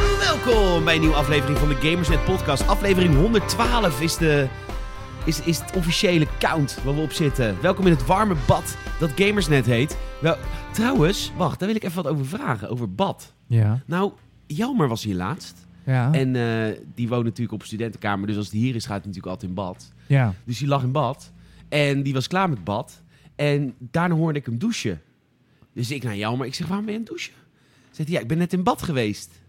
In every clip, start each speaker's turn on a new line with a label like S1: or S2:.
S1: welkom bij een nieuwe aflevering van de Gamersnet Podcast. Aflevering 112 is, de, is, is het officiële count waar we op zitten. Welkom in het warme bad dat Gamersnet heet. Wel, trouwens, wacht, daar wil ik even wat over vragen, over bad.
S2: Ja.
S1: Nou, Jelmer was hier laatst.
S2: Ja.
S1: En eh, die woont natuurlijk op studentenkamer, dus als die hier is, gaat hij natuurlijk altijd in bad.
S2: ja.
S1: Dus die lag in bad. En die was klaar met bad. En daarna hoorde ik hem douchen. Dus ik naar jou, maar ik zeg, waarom ben je aan het douchen? Zegt hij, ja, ik ben net in bad geweest.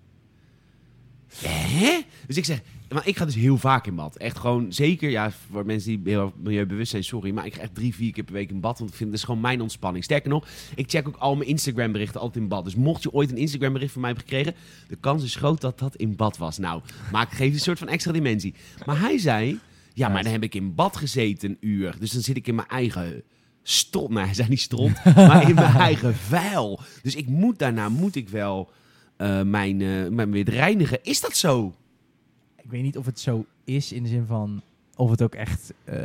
S1: Hè? Dus ik zeg, maar ik ga dus heel vaak in bad. Echt gewoon, zeker, ja, voor mensen die heel erg milieubewust zijn, sorry. Maar ik ga echt drie, vier keer per week in bad. Want ik vind, dat is gewoon mijn ontspanning. Sterker nog, ik check ook al mijn Instagram berichten altijd in bad. Dus mocht je ooit een Instagram bericht van mij hebben gekregen, de kans is groot dat dat in bad was. Nou, maar ik geef een soort van extra dimensie. Maar hij zei, ja, maar dan heb ik in bad gezeten een uur. Dus dan zit ik in mijn eigen stront. Nou, hij zei niet stront, maar in mijn eigen vuil. Dus ik moet daarna, moet ik wel eh, mijn, eh mijn weer reinigen. Is dat zo?
S2: Ik weet niet of het zo is in de zin van of het ook echt eh,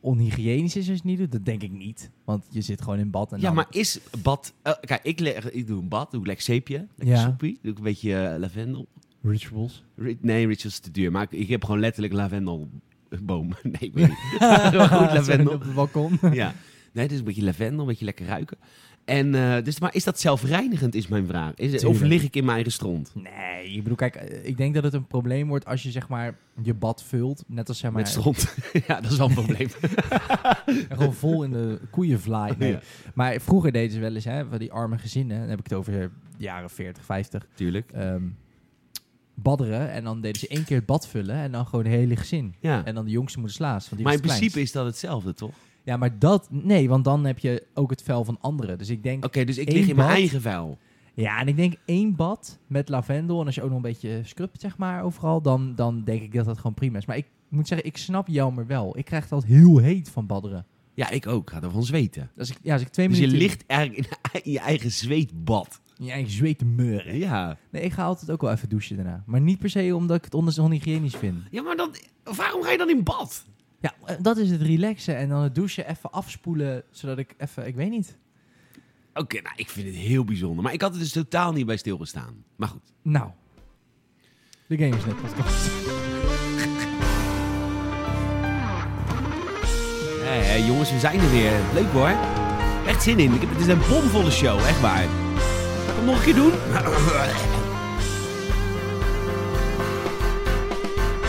S2: onhygiënisch is als je het niet doet. Dat denk ik niet. Want je zit gewoon in bad en
S1: Ja,
S2: dan...
S1: maar is bad... eh, kijk, ik, leg, ik doe een bad, doe ik lekker zeepje, lekker
S2: Ja.
S1: soepie. Doe ik een beetje eh, lavendel.
S2: Rituals.
S1: Ri- Nee, Rituals is te duur, maar ik, ik heb gewoon letterlijk lavendelboom. Nee, ik weet niet. Maar Goed, lavendel.
S2: op het balkon.
S1: Ja. Nee, het is een beetje lavendel, een beetje lekker ruiken. En, eh, dus, maar is dat zelfreinigend, is mijn vraag. Is, het- of
S2: Tuurlijk.
S1: lig ik in mijn eigen stront?
S2: Nee, ik bedoel, kijk, eh, ik denk dat het een probleem wordt als je zeg maar je bad vult. Net als zeg maar...
S1: Met stront. ja, dat is wel een probleem.
S2: Gewoon vol in de koeienvlaai. Nee.
S1: Ja.
S2: Maar vroeger deden ze wel eens, hè, van die arme gezinnen. Dan heb ik het over jaren 40, 50.
S1: Tuurlijk.
S2: ehm, badderen. En dan deden ze één keer het bad vullen. En dan gewoon het hele gezin.
S1: Ja.
S2: En dan de jongste moeder slaas.
S1: Maar in principe is dat hetzelfde, toch? Oké,
S2: Ja, maar dat... Nee, want dan heb je ook het vuil van anderen. Dus ik denk...
S1: dus ik
S2: Eén
S1: lig in mijn
S2: bad.
S1: eigen vuil.
S2: Ja, en ik denk één bad met lavendel. En als je ook nog een beetje scrubt, zeg maar, overal. Dan, dan denk ik dat dat gewoon prima is. Maar ik moet zeggen, ik snap Jelmer wel. Ik krijg het altijd heel heet van badderen.
S1: Ja, ik ook. Ga ervan zweten.
S2: Als ik, ja, als ik twee
S1: Dus je
S2: minuten...
S1: ligt eigenlijk in, in je eigen zweetbad.
S2: in je eigen zweet te meuren.
S1: Ja.
S2: Nee, ik ga altijd ook wel even douchen daarna. Maar niet per se omdat ik het onders onhygiënisch vind.
S1: Ja, maar dan, waarom ga je dan in bad?
S2: Ja, eh, dat is het relaxen. En dan het douchen even afspoelen, zodat ik even... Ik weet niet.
S1: Oké, nou, ik vind het heel bijzonder. Maar ik had het dus totaal niet bij stilgestaan. Maar goed.
S2: Nou. De Game is Net podcast.
S1: Hé, hé, jongens, we zijn er weer. Leuk hoor. Echt zin in. Ik heb, het is een bomvolle show, echt waar. Ga ik hem nog een keer doen?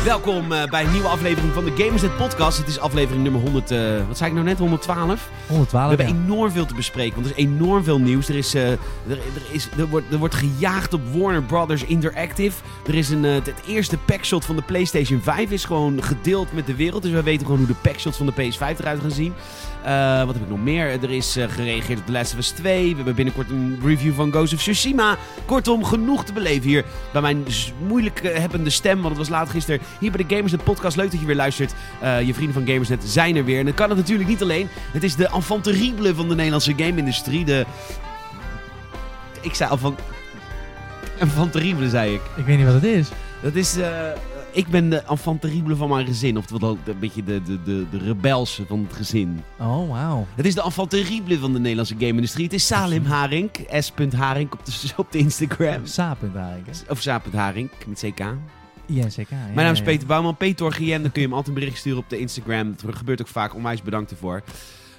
S1: Welkom eh, bij een nieuwe aflevering van de Gamersnet Podcast. Het is aflevering nummer 100, eh, wat zei ik nou net, 112?
S2: 112,
S1: We hebben
S2: ja.
S1: enorm veel te bespreken, want er is enorm veel nieuws. Er, is, eh, er, er, is, er, wordt, er wordt gejaagd op Warner Brothers Interactive. Er is een, eh, het eerste packshot van de PlayStation 5 is gewoon gedeeld met de wereld. Dus we weten gewoon hoe de packshots van de PS5 eruit gaan zien. Eh, wat heb ik nog meer? Er is eh, gereageerd op The Last of Us 2. We hebben binnenkort een review van Ghost of Tsushima. Kortom, genoeg te beleven hier bij mijn z- moeilijk eh, hebbende stem, want het was laat gisteren. Hier bij de Gamersnet Podcast. Leuk dat je weer luistert. Eh, je vrienden van Gamersnet zijn er weer. En dan kan het natuurlijk niet alleen. Het is de enfant terrible van de Nederlandse game-industrie. De... Ik zei enfant... Enfant terrible, zei ik.
S2: Ik weet niet wat het is.
S1: Dat is... eh, Ik ben de enfant terrible van mijn gezin. Of wat ook een beetje de, de, de, de rebelse van het gezin.
S2: Oh, wauw.
S1: Het is de enfant terrible van de Nederlandse game-industrie. Het is Salim Haring. S.Haring op de, op de Instagram.
S2: Sapend eigenlijk. hè?
S1: Of Saap.Haring met CK.
S2: INCK. ja,
S1: Mijn naam is
S2: ja,
S1: Peter Bouwman, Peter Gien. Dan kun je hem altijd een bericht sturen op de Instagram. Dat gebeurt ook vaak. Onwijs bedankt ervoor.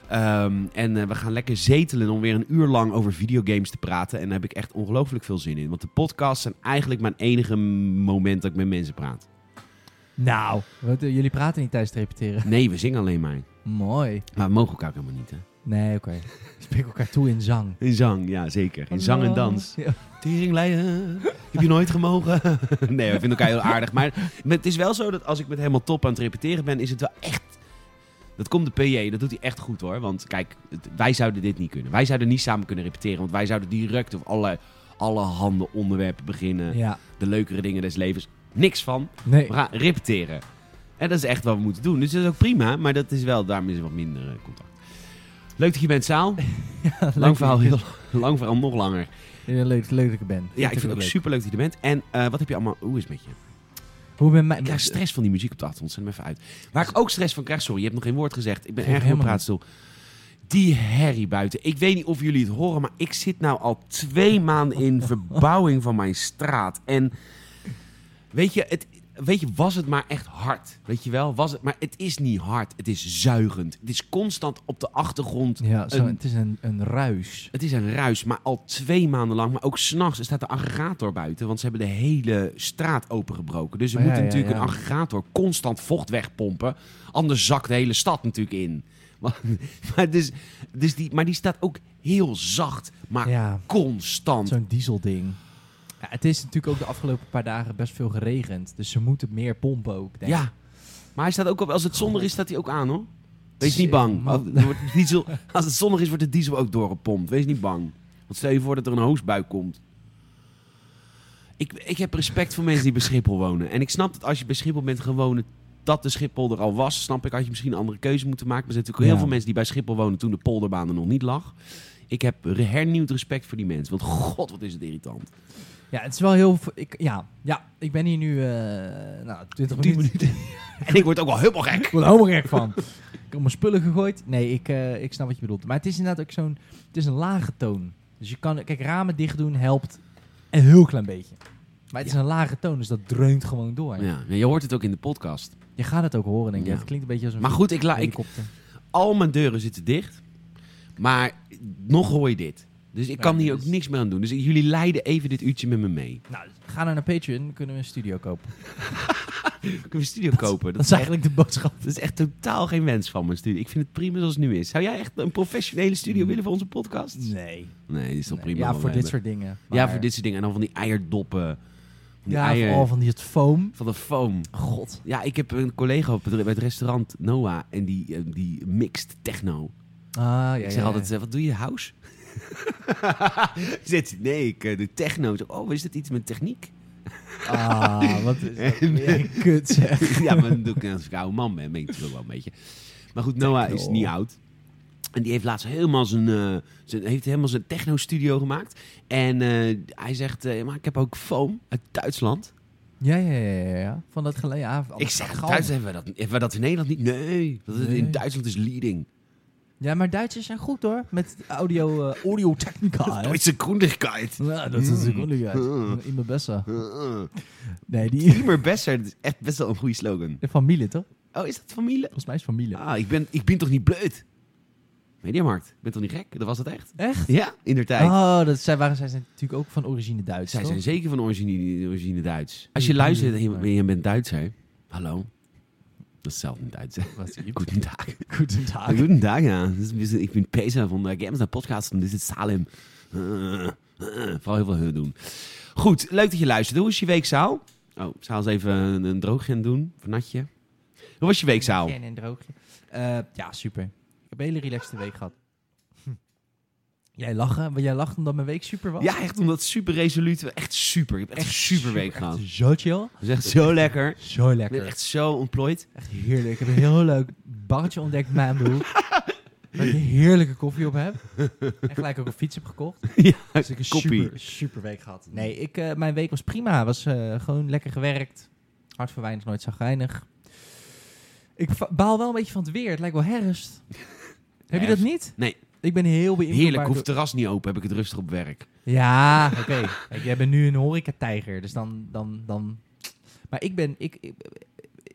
S1: Ehm, en eh, we gaan lekker zetelen om weer een uur lang over videogames te praten. En daar heb ik echt ongelooflijk veel zin in. Want de podcasts zijn eigenlijk mijn enige moment dat ik met mensen praat.
S2: ja. Nou, wat, eh, jullie praten niet tijdens het repeteren.
S1: Nee, we zingen alleen maar.
S2: Mooi.
S1: Maar we mogen elkaar ook helemaal niet, hè?
S2: Nee, oké. We spreken elkaar toe in zang.
S1: In zang, ja, zeker.
S2: Oh,
S1: In zang en dans.
S2: Ja.
S1: Teringleier, heb je nooit gemogen? nee, we vinden elkaar heel aardig. Maar het is wel zo dat als ik met helemaal top aan het repeteren ben, is het wel echt... Dat komt de PJ, dat doet hij echt goed hoor. Want kijk, het- wij zouden dit niet kunnen. Wij zouden niet samen kunnen repeteren. Want wij zouden direct op alle, alle handen onderwerpen beginnen.
S2: Ja.
S1: De leukere dingen des levens. Niks van.
S2: Nee.
S1: We gaan repeteren. En dat is echt wat we moeten doen. Dus dat is ook prima. Maar dat is wel, daarmee is wat minder eh, contact. Leuk dat je bent, Saal. Lang verhaal, heel lang verhaal, nog langer.
S2: Ja, leuk, leuk dat ik er ben.
S1: Ja, ik vind het ook
S2: leuk.
S1: super leuk dat je er bent. En eh, wat heb je allemaal... Hoe is het met je?
S2: Hoe ben mij...
S1: Ik krijg stress van die muziek op de achtergrond. Zet hem even uit. Waar ik ook stress van krijg... Sorry, je hebt nog geen woord gezegd. Ik ben
S2: Geeft
S1: erg in mijn
S2: helemaal
S1: praatstoel. Die herrie buiten. Ik weet niet of jullie het horen, maar ik zit nou al twee maanden in verbouwing van mijn straat. En Weet je, het, weet je, was het maar echt hard. Weet je wel, was het maar. Het is niet hard. Het is zuigend. Het is constant op de achtergrond.
S2: Ja, zo,
S1: Een-
S2: het is een, een ruis.
S1: Het is een ruis, maar al twee maanden lang. Maar ook s'nachts staat de aggregator buiten. Want ze hebben de hele straat opengebroken. Dus ze
S2: Oh, ja,
S1: moeten
S2: ja,
S1: natuurlijk
S2: ja.
S1: een aggregator constant vocht wegpompen. Anders zakt de hele stad natuurlijk in. Maar, maar dus, dus die, maar die staat ook heel zacht, maar
S2: Ja,
S1: constant.
S2: zo'n dieselding. Ja, het is natuurlijk ook de afgelopen paar dagen best veel geregend. Dus ze moeten meer pompen ook, denk ik.
S1: Ja. Maar hij staat ook op, als het zonnig is, staat hij ook aan hoor. Wees
S2: Shit,
S1: niet bang.
S2: man.
S1: Als, er wordt diesel, als het zonnig is, wordt de diesel ook doorgepompt. Wees niet bang. Want stel je voor dat er een hoosbui komt. Ik, ik heb respect voor mensen die bij Schiphol wonen. En ik snap dat als je bij Schiphol bent gaan wonen, dat de Schiphol er al was. Snap ik, had je misschien een andere keuze moeten maken. Maar er zijn natuurlijk heel
S2: Ja.
S1: veel mensen die bij Schiphol wonen toen de polderbaan er nog niet lag. Ik heb re- hernieuwd respect voor die mensen. Want god, wat is het irritant.
S2: Ja, het is wel heel... v- Ik, ja, ja, ik ben hier nu eh, nou, 20
S1: 10
S2: minuten.
S1: En ik word ook wel helemaal gek.
S2: Ik word er helemaal gek van. ik heb mijn spullen gegooid. Nee, ik, eh, ik snap wat je bedoelt. Maar het is inderdaad ook zo'n... Het is een lage toon. Dus je kan... Kijk, ramen dicht doen helpt een heel klein beetje. Maar het is een lage toon, dus dat dreunt gewoon door.
S1: Ja, je hoort het ook in de podcast.
S2: Je gaat het ook horen, denk ik.
S1: Ja.
S2: Het klinkt een beetje als een
S1: Maar goed, ik, la, ik,
S2: helikopter.
S1: al mijn deuren zitten dicht. Maar nog hoor je dit. Dus ik kan
S2: Ja,
S1: hier
S2: dit
S1: ook
S2: is-
S1: niks meer aan doen. Dus jullie leiden even dit uurtje met me mee.
S2: Nou, ga nou naar Patreon, dan kunnen we een studio kopen.
S1: Kunnen we een studio kopen?
S2: Dat is eigenlijk de boodschap.
S1: dat is echt totaal geen wens van mijn studie. Ik vind het prima zoals het nu is. Zou jij echt een professionele studio willen voor onze podcast?
S2: Nee.
S1: Nee, dit is toch prima.
S2: Ja,
S1: wat
S2: voor
S1: we hebben.
S2: dit soort dingen.
S1: Ja,
S2: Maar-
S1: voor dit soort dingen. En dan van die eierdoppen. Van die
S2: Ja,
S1: eier,
S2: vooral van die het foam.
S1: van de foam.
S2: God.
S1: Ja, ik heb een collega op het, bij het restaurant, Noah, en die, eh, die mixt techno.
S2: Ah, ja,
S1: ik
S2: ja,
S1: zeg
S2: ja.
S1: altijd, eh, wat doe je, house? Zegt ze, nee, ik eh, doe techno. Ik zeg, oh, is dat iets met techniek?
S2: Ah, wat is dat? weer kut zeg.
S1: ja, maar dan doe ik, als ik een oude man ben, ben ik natuurlijk wel een beetje. Maar goed, Noah
S2: Techno.
S1: is niet oud. En die heeft laatst helemaal zijn, eh, zijn, heeft helemaal zijn techno-studio gemaakt. En eh, hij zegt, eh, maar ik heb ook foam uit Duitsland.
S2: Ja, ja, ja, ja, ja. Van dat ah, geleden af.
S1: ik zeg, Duitsland hebben we, dat, hebben we dat in Nederland niet? Nee, dat is, in
S2: Nee.
S1: Duitsland is leading.
S2: Ja, maar Duitsers zijn goed hoor. Met audio, eh, audio technica. hè.
S1: Duitse grondigheid.
S2: Ja, dat is een goede
S1: Mm.
S2: uit. In mijn beste.
S1: Uh,
S2: Nee, die...
S1: Immer besser, dat is echt best wel een goede slogan.
S2: De familie toch?
S1: Oh, is dat familie?
S2: Volgens mij is familie.
S1: Ah, ik ben, ik ben toch niet bleut? Mediamarkt, ik ben toch niet gek? Dat was het echt?
S2: Echt?
S1: Ja, Ah, in der tijd.
S2: Oh, dat, zij, waren, zij zijn natuurlijk ook van origine Duits.
S1: Zij
S2: toch?
S1: zijn zeker van origine, origine Duits. Als je
S2: Ja,
S1: luistert en
S2: tuurlijk,
S1: je-
S2: maar-
S1: en je bent Duits, hè? Hallo? Dat is Ah. zelf niet Duits, hè?
S2: Wat lieb.
S1: Goedendag.
S2: Goedendag.
S1: Goedendag, ja. Dat is een beetje- Ik ben Pesa van de Games Podcast en dit is Salem. Uh, eh, vooral heel veel hun doen. Goed, leuk dat je luistert. Hoe was je weekzaal? Oh, Zaal is even een, een drooggen doen, een natje. Hoe was je weekzaal?
S2: En een droogje. Eh, ja, super. Ik heb een hele relaxte week gehad. Hm. Jij lachen, maar jij lacht omdat mijn week super was.
S1: Ja, echt omdat super resoluut. Echt super. Ik heb echt, een super week gehad.
S2: Echt Zo chill.
S1: Het is echt zo lekker.
S2: Zo
S1: Ik
S2: lekker.
S1: ben echt zo ontplooit.
S2: Echt heerlijk. Ik heb een heel leuk barretje ontdekt bij mijn broek. Waar ik een heerlijke koffie op heb. En gelijk ook een fiets heb gekocht.
S1: Ja,
S2: Dus ik heb een
S1: koppie.
S2: super, super week gehad. Nee, ik, eh, mijn week was prima. Was eh, gewoon lekker gewerkt. Hard voor weinig, nooit zagrijnig. Ik va- baal wel een beetje van het weer. Het lijkt wel herfst. heb je dat
S1: Herfst?
S2: niet?
S1: Nee.
S2: Ik ben heel beïnvloedbaar.
S1: Heerlijk, hoeft
S2: door-
S1: het terras niet open, heb ik het rustig op werk.
S2: Ja, oké. Kijk, Jij bent nu een horecatijger, dus dan, dan, dan... Maar ik ben, ik, ik,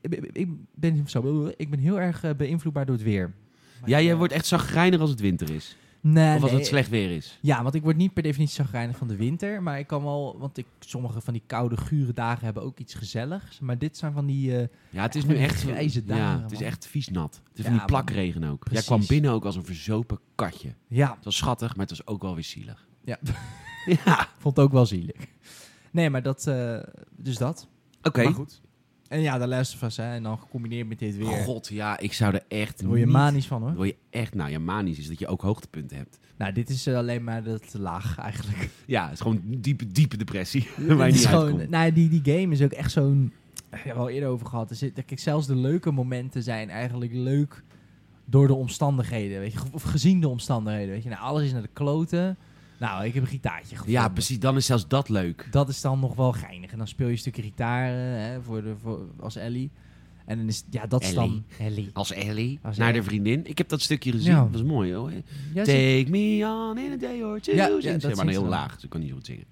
S2: ik- ik ben, zo, ik ben heel erg eh, beïnvloedbaar door het weer. Maar
S1: Ja,
S2: ik,
S1: jij
S2: eh,
S1: wordt echt zagrijnig als het winter is.
S2: Nee,
S1: Of als
S2: nee.
S1: het slecht weer is.
S2: Ja, want ik word niet per definitie zagrijnig van de winter. Maar ik kan wel... Want ik, sommige van die koude, gure dagen hebben ook iets gezelligs. Maar dit zijn van die... eh,
S1: Ja, het is
S2: Echt van
S1: nu
S2: die
S1: echt...
S2: grijze
S1: ja,
S2: dagen,
S1: het is
S2: man.
S1: echt vies nat. Het is
S2: Ja,
S1: van die
S2: man.
S1: plakregen ook.
S2: Precies.
S1: Jij kwam binnen ook als een verzopen katje.
S2: ja,
S1: Het was schattig, maar het was ook wel weer zielig.
S2: Ja.
S1: ja.
S2: ik vond het ook wel zielig. Nee, maar dat... eh, dus dat.
S1: Oké.
S2: Maar goed. En ja, de luister van zijn. En dan gecombineerd met dit weer.
S1: God, ja, ik zou er echt
S2: Daar word je
S1: niet-
S2: manisch van, hoor.
S1: Daar word je echt... Nou ja, manisch is dat je ook hoogtepunten hebt.
S2: Nou, dit is eh, alleen maar dat laag eigenlijk.
S1: Ja, het is gewoon diepe, diepe depressie. waar je
S2: Dit is
S1: niet
S2: gewoon,
S1: uitkomt.
S2: nou, die, die game is ook echt zo'n. We hebben al eerder over gehad. Er zit, kijk, zelfs de leuke momenten zijn eigenlijk leuk door de omstandigheden. Weet je, of gezien de omstandigheden. Weet je, nou, alles is naar de kloten. Nou, ik heb een gitaartje gevonden.
S1: Ja, precies. Dan is zelfs dat leuk.
S2: Dat is dan nog wel geinig. En dan speel je een stukje gitaar eh, hè, voor de, voor, als Ellie. En dan is ja, dat is dan. Ellie.
S1: Als Ellie.
S2: Als
S1: naar
S2: Ellie.
S1: de vriendin. Ik heb dat stukje gezien.
S2: Ja.
S1: Dat was mooi hoor.
S2: Ja, ze-
S1: Take me on in a day or two.
S2: Ja,
S1: Ja,
S2: ja,
S1: maar
S2: dat zingt
S1: heel dus
S2: ze dan.
S1: laag. Ze kan niet zo goed zingen.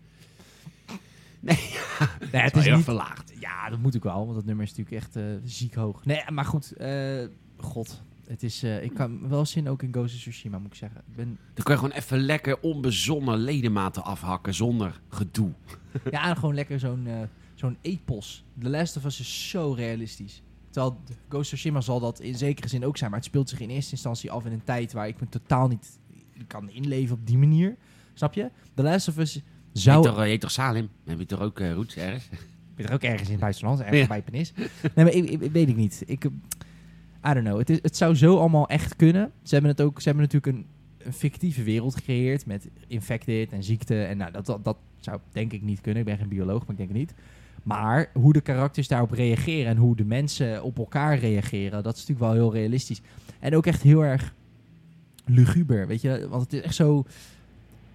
S2: Nee,
S1: wel
S2: het is
S1: heel
S2: niet
S1: erg
S2: verlaagd. Ja, dat moet ook wel, want dat nummer is natuurlijk echt eh, ziek hoog. Nee, maar goed. eh, God, het is, eh, ik kan wel zin ook in Ghost of Tsushima, moet ik zeggen. Ik ben,
S1: Dan kan je gewoon even lekker onbezonnen ledematen afhakken zonder gedoe.
S2: ja, en gewoon lekker zo'n eh, zo'n epos. The Last of Us is zo realistisch. Terwijl Ghost of Tsushima zal dat in zekere zin ook zijn, maar het speelt zich in eerste instantie af in een tijd waar ik me totaal niet kan inleven op die manier. Snap je? The Last of Us zou...
S1: Je, heet toch, je heet toch Salem? Heb je toch ook eh, roots ergens?
S2: Ik ben er ook ergens in het buitenland, ergens
S1: Ja.
S2: bij Penis. Nee, maar ik, ik- ik weet ik niet. Ik, eh, I don't know. Het, is, het zou zo allemaal echt kunnen. Ze hebben, het ook, ze hebben natuurlijk een, een fictieve wereld gecreëerd met infected en ziekte. En nou, dat, dat, dat zou denk ik niet kunnen. Ik ben geen bioloog, maar ik denk het niet. Maar hoe de karakters daarop reageren en hoe de mensen op elkaar reageren, dat is natuurlijk wel heel realistisch. En ook echt heel erg luguber, weet je. Want het is echt zo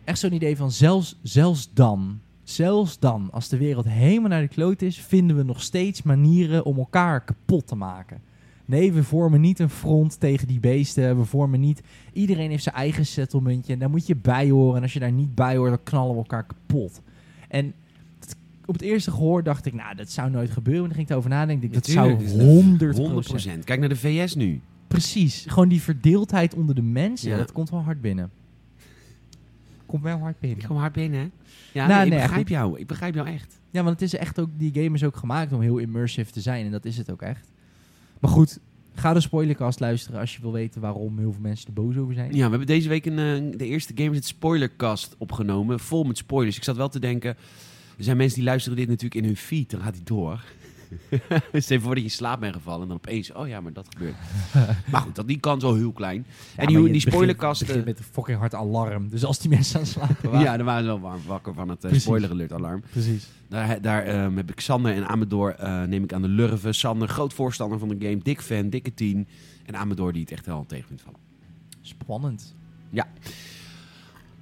S2: echt zo'n idee van zelfs, zelfs dan, zelfs dan, als de wereld helemaal naar de kloot is, vinden we nog steeds manieren om elkaar kapot te maken. Nee, we vormen niet een front tegen die beesten. We vormen niet. Iedereen heeft zijn eigen settlementje. En daar moet je bij horen. En als je daar niet bij hoort, dan knallen we elkaar kapot. En het- op het eerste gehoor dacht ik, nou, dat zou nooit gebeuren. En dan ging ik erover nadenken. Ik dacht, Dat zou
S1: Natuurlijk, dus
S2: 100,
S1: 100%. Kijk naar de VS nu.
S2: Precies. Gewoon die verdeeldheid onder de mensen.
S1: Ja.
S2: Dat komt wel hard binnen. Komt wel hard binnen.
S1: Ik kom hard binnen, hè? Ja,
S2: Nou,
S1: nee, ik
S2: nee,
S1: begrijp
S2: goed.
S1: jou. Ik begrijp jou echt.
S2: Ja, want het is echt ook, die game is ook gemaakt om heel immersive te zijn. En dat is het ook echt. Maar goed, ga de spoilercast luisteren als je wil weten waarom heel veel mensen er boos over zijn.
S1: Ja, we hebben deze week een, eh, de eerste Games het Spoilercast opgenomen. Vol met spoilers. Ik zat wel te denken... Er zijn mensen die luisteren dit natuurlijk in hun feed. Dan gaat die door. Stel je voor dat je in slaap bent gevallen. En dan opeens... Oh ja, maar dat gebeurt. maar goed, dat, die kans wel heel klein. en die, die spoilercast...
S2: begint met een fucking hard alarm. Dus als die mensen aan het slapen
S1: eh,
S2: waren.
S1: ja, daar waren ze wel warm wakker van het eh,
S2: Precies.
S1: spoiler alert alarm.
S2: precies.
S1: Daar, daar ehm, heb ik Sander en Amador, eh, neem ik aan de lurven. Sander, groot voorstander van de game, dik fan, dikke tien. En Amador die het echt wel tegen vindt vallen.
S2: Spannend.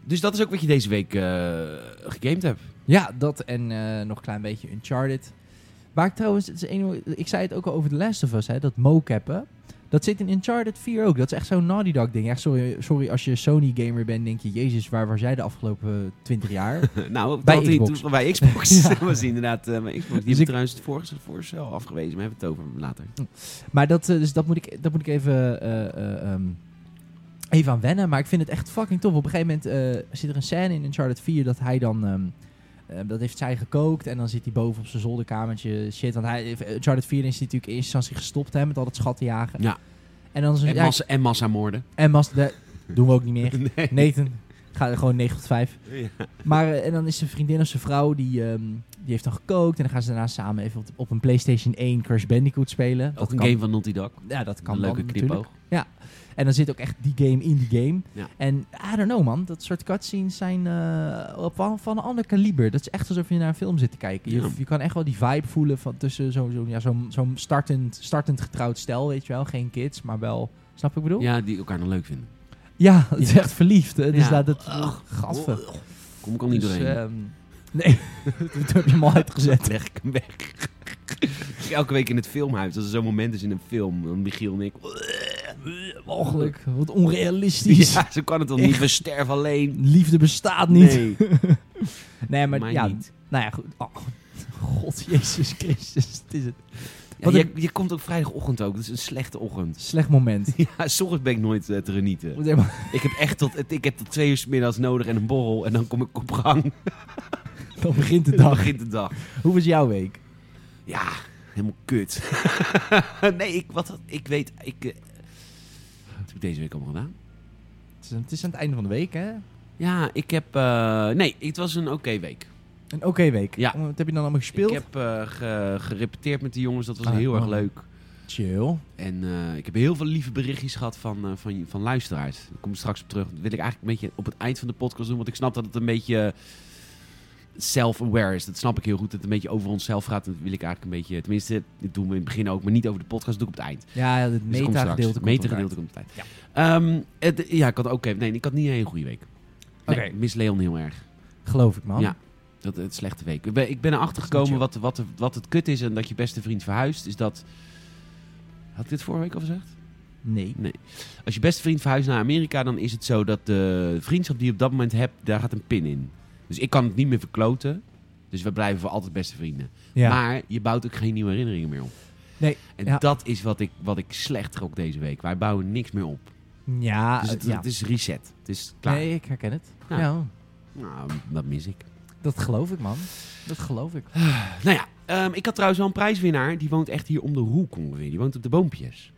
S1: Dus dat is ook wat je deze week eh, gegamed hebt.
S2: Ja, dat en eh, nog een klein beetje Uncharted. Waar ik trouwens, het is een, ik zei het ook al over The Last of Us, hè, dat mocappen. Dat zit in Uncharted 4 ook. Dat is echt zo'n Naughty Dog ding. Echt, sorry, sorry als je Sony gamer bent, denk je, jezus, waar was jij de afgelopen 20 jaar?
S1: nou,
S2: Bij
S1: dat hij
S2: Xbox.
S1: toen- bij Xbox.
S2: Ja. Dus
S1: Dat was inderdaad eh, bij Xbox. Die
S2: ik-
S1: hebben trouwens het vorige voorstel afgewezen, maar hebben we het over later.
S2: Maar dat, eh, dus dat, moet, ik, dat moet ik even, eh, eh, ehm, even aan wennen. Maar ik vind het echt fucking tof. Op een gegeven moment eh, zit er een scène in Uncharted 4 dat hij dan... ehm, eh, dat heeft zij gekookt en dan zit hij boven op zijn zolderkamertje. Shit, want hij, eh, Uncharted 4 is natuurlijk in eerste instantie gestopt hè, met al dat schat te jagen.
S1: Ja.
S2: En dan is een,
S1: En,
S2: ja,
S1: massa, en massamoorden.
S2: en mas- dat doen we ook niet meer.
S1: Nee.
S2: Nathan, ga er gewoon 9 tot 5.
S1: Ja.
S2: Maar eh, en dan is zijn vriendin of zijn vrouw, die, ehm, die heeft dan gekookt. En dan gaan ze daarna samen even op, op een PlayStation 1 Crash Bandicoot spelen.
S1: Ook
S2: Dat
S1: een
S2: kan.
S1: game van Naughty Dog.
S2: Ja, dat kan
S1: een leuke
S2: dan
S1: knipoog.
S2: natuurlijk. En dan zit ook echt die game in die game.
S1: Ja.
S2: En I don't know man, dat soort cutscenes zijn eh, op, van- van een ander kaliber. Dat is echt alsof je naar een film zit te kijken. Je,
S1: Ja.
S2: je kan echt wel die vibe voelen van tussen zo'n zo, ja, zo'n zo'n startend, startend getrouwd stel, weet je wel. Geen kids, maar wel... Snap je wat ik bedoel? Ja,
S1: Ja, die elkaar nog leuk vinden.
S2: het is echt verliefd. hè. Dus
S1: Ja.
S2: dat... dat
S1: Ugh.
S2: gadver.
S1: Kom ik al niet
S2: Dus,
S1: doorheen.
S2: ehm, nee, toen heb je hem al uitgezet.
S1: Leg ik hem weg. Elke week in het filmhuis, als er zo'n moment is in een film, dan Michiel en ik.
S2: Mogelijk, wat onrealistisch.
S1: Ja, zo kan het dan niet.
S2: Echt.
S1: We sterven alleen.
S2: Liefde bestaat niet. Nee,
S1: Nee,
S2: maar,
S1: maar
S2: ja,
S1: niet.
S2: nou ja, goed. Oh, God, Jezus Christus, het is het.
S1: Ja,
S2: Wat
S1: je,
S2: een-
S1: je komt ook vrijdagochtend ook. Dat is een slechte ochtend.
S2: Slecht moment.
S1: Ja, s ochtends ben ik nooit eh, te genieten.
S2: Nee, maar
S1: Ik heb echt tot, ik heb tot twee uur 's middags nodig en een borrel. En dan kom ik op gang.
S2: Dan begint de
S1: Dan
S2: dag.
S1: begint de dag.
S2: Hoe was jouw week?
S1: Ja, helemaal kut. nee, ik, wat, had- ik weet... Ik, eh, wat heb ik deze week allemaal gedaan?
S2: Het is, het is aan het einde van de week, hè?
S1: Ja, ik heb... eh, nee, het was een oké week.
S2: Een oké week.
S1: Ja.
S2: Wat heb je dan allemaal gespeeld?
S1: Ik heb eh, ge- gerepeteerd met de jongens, dat was
S2: Ah,
S1: heel erg
S2: oh.
S1: leuk.
S2: Chill.
S1: En eh, ik heb heel veel lieve berichtjes gehad van, eh, van, van luisteraars. Daar kom ik straks op terug. Dat wil ik eigenlijk een beetje op het eind van de podcast doen, want ik snap dat het een beetje eh, self-aware is. Dat snap ik heel goed, dat het een beetje over onszelf gaat. Dat wil ik eigenlijk een beetje, tenminste, dit doen we in het begin ook, maar niet over de podcast, dat doe ik op het eind.
S2: Ja, het
S1: Dus dat komt straks.
S2: meta-gedeelte
S1: Het
S2: komt
S1: meta-gedeelte komt op het eind. Ja, het, ja ik had ook nee, ik had niet een hele goede week. Nee,
S2: Oké.
S1: ik mis Leon heel erg.
S2: eruit. Geloof ik, man.
S1: Ja. Dat het slechte week. Ik ben, ik ben erachter
S2: Dat is niet
S1: gekomen wat, wat, wat het kut is en dat je beste vriend verhuist. Is dat. Had ik dit vorige week al gezegd?
S2: Nee.
S1: Als je beste vriend verhuist naar Amerika, dan is het zo dat de vriendschap die je op dat moment hebt, daar gaat een pin in. Dus ik kan het niet meer verkloten. Dus Dus we blijven voor altijd beste vrienden.
S2: Ja.
S1: Maar je bouwt ook geen nieuwe herinneringen meer op.
S2: Nee,
S1: En
S2: ja.
S1: dat is wat ik, wat ik slecht trok deze week. Wij bouwen niks meer op.
S2: ja,
S1: dus
S2: het,
S1: het,
S2: Ah, ja.
S1: het is reset. Het is klaar.
S2: Nee, ik herken het.
S1: Ja.
S2: Ja.
S1: Nou, dat mis ik.
S2: dat geloof ik, man. Dat geloof ik.
S1: Nou ja, ehm, ik had trouwens wel een prijswinnaar. Die woont echt hier om de hoek ongeveer. Die woont op de boompjes.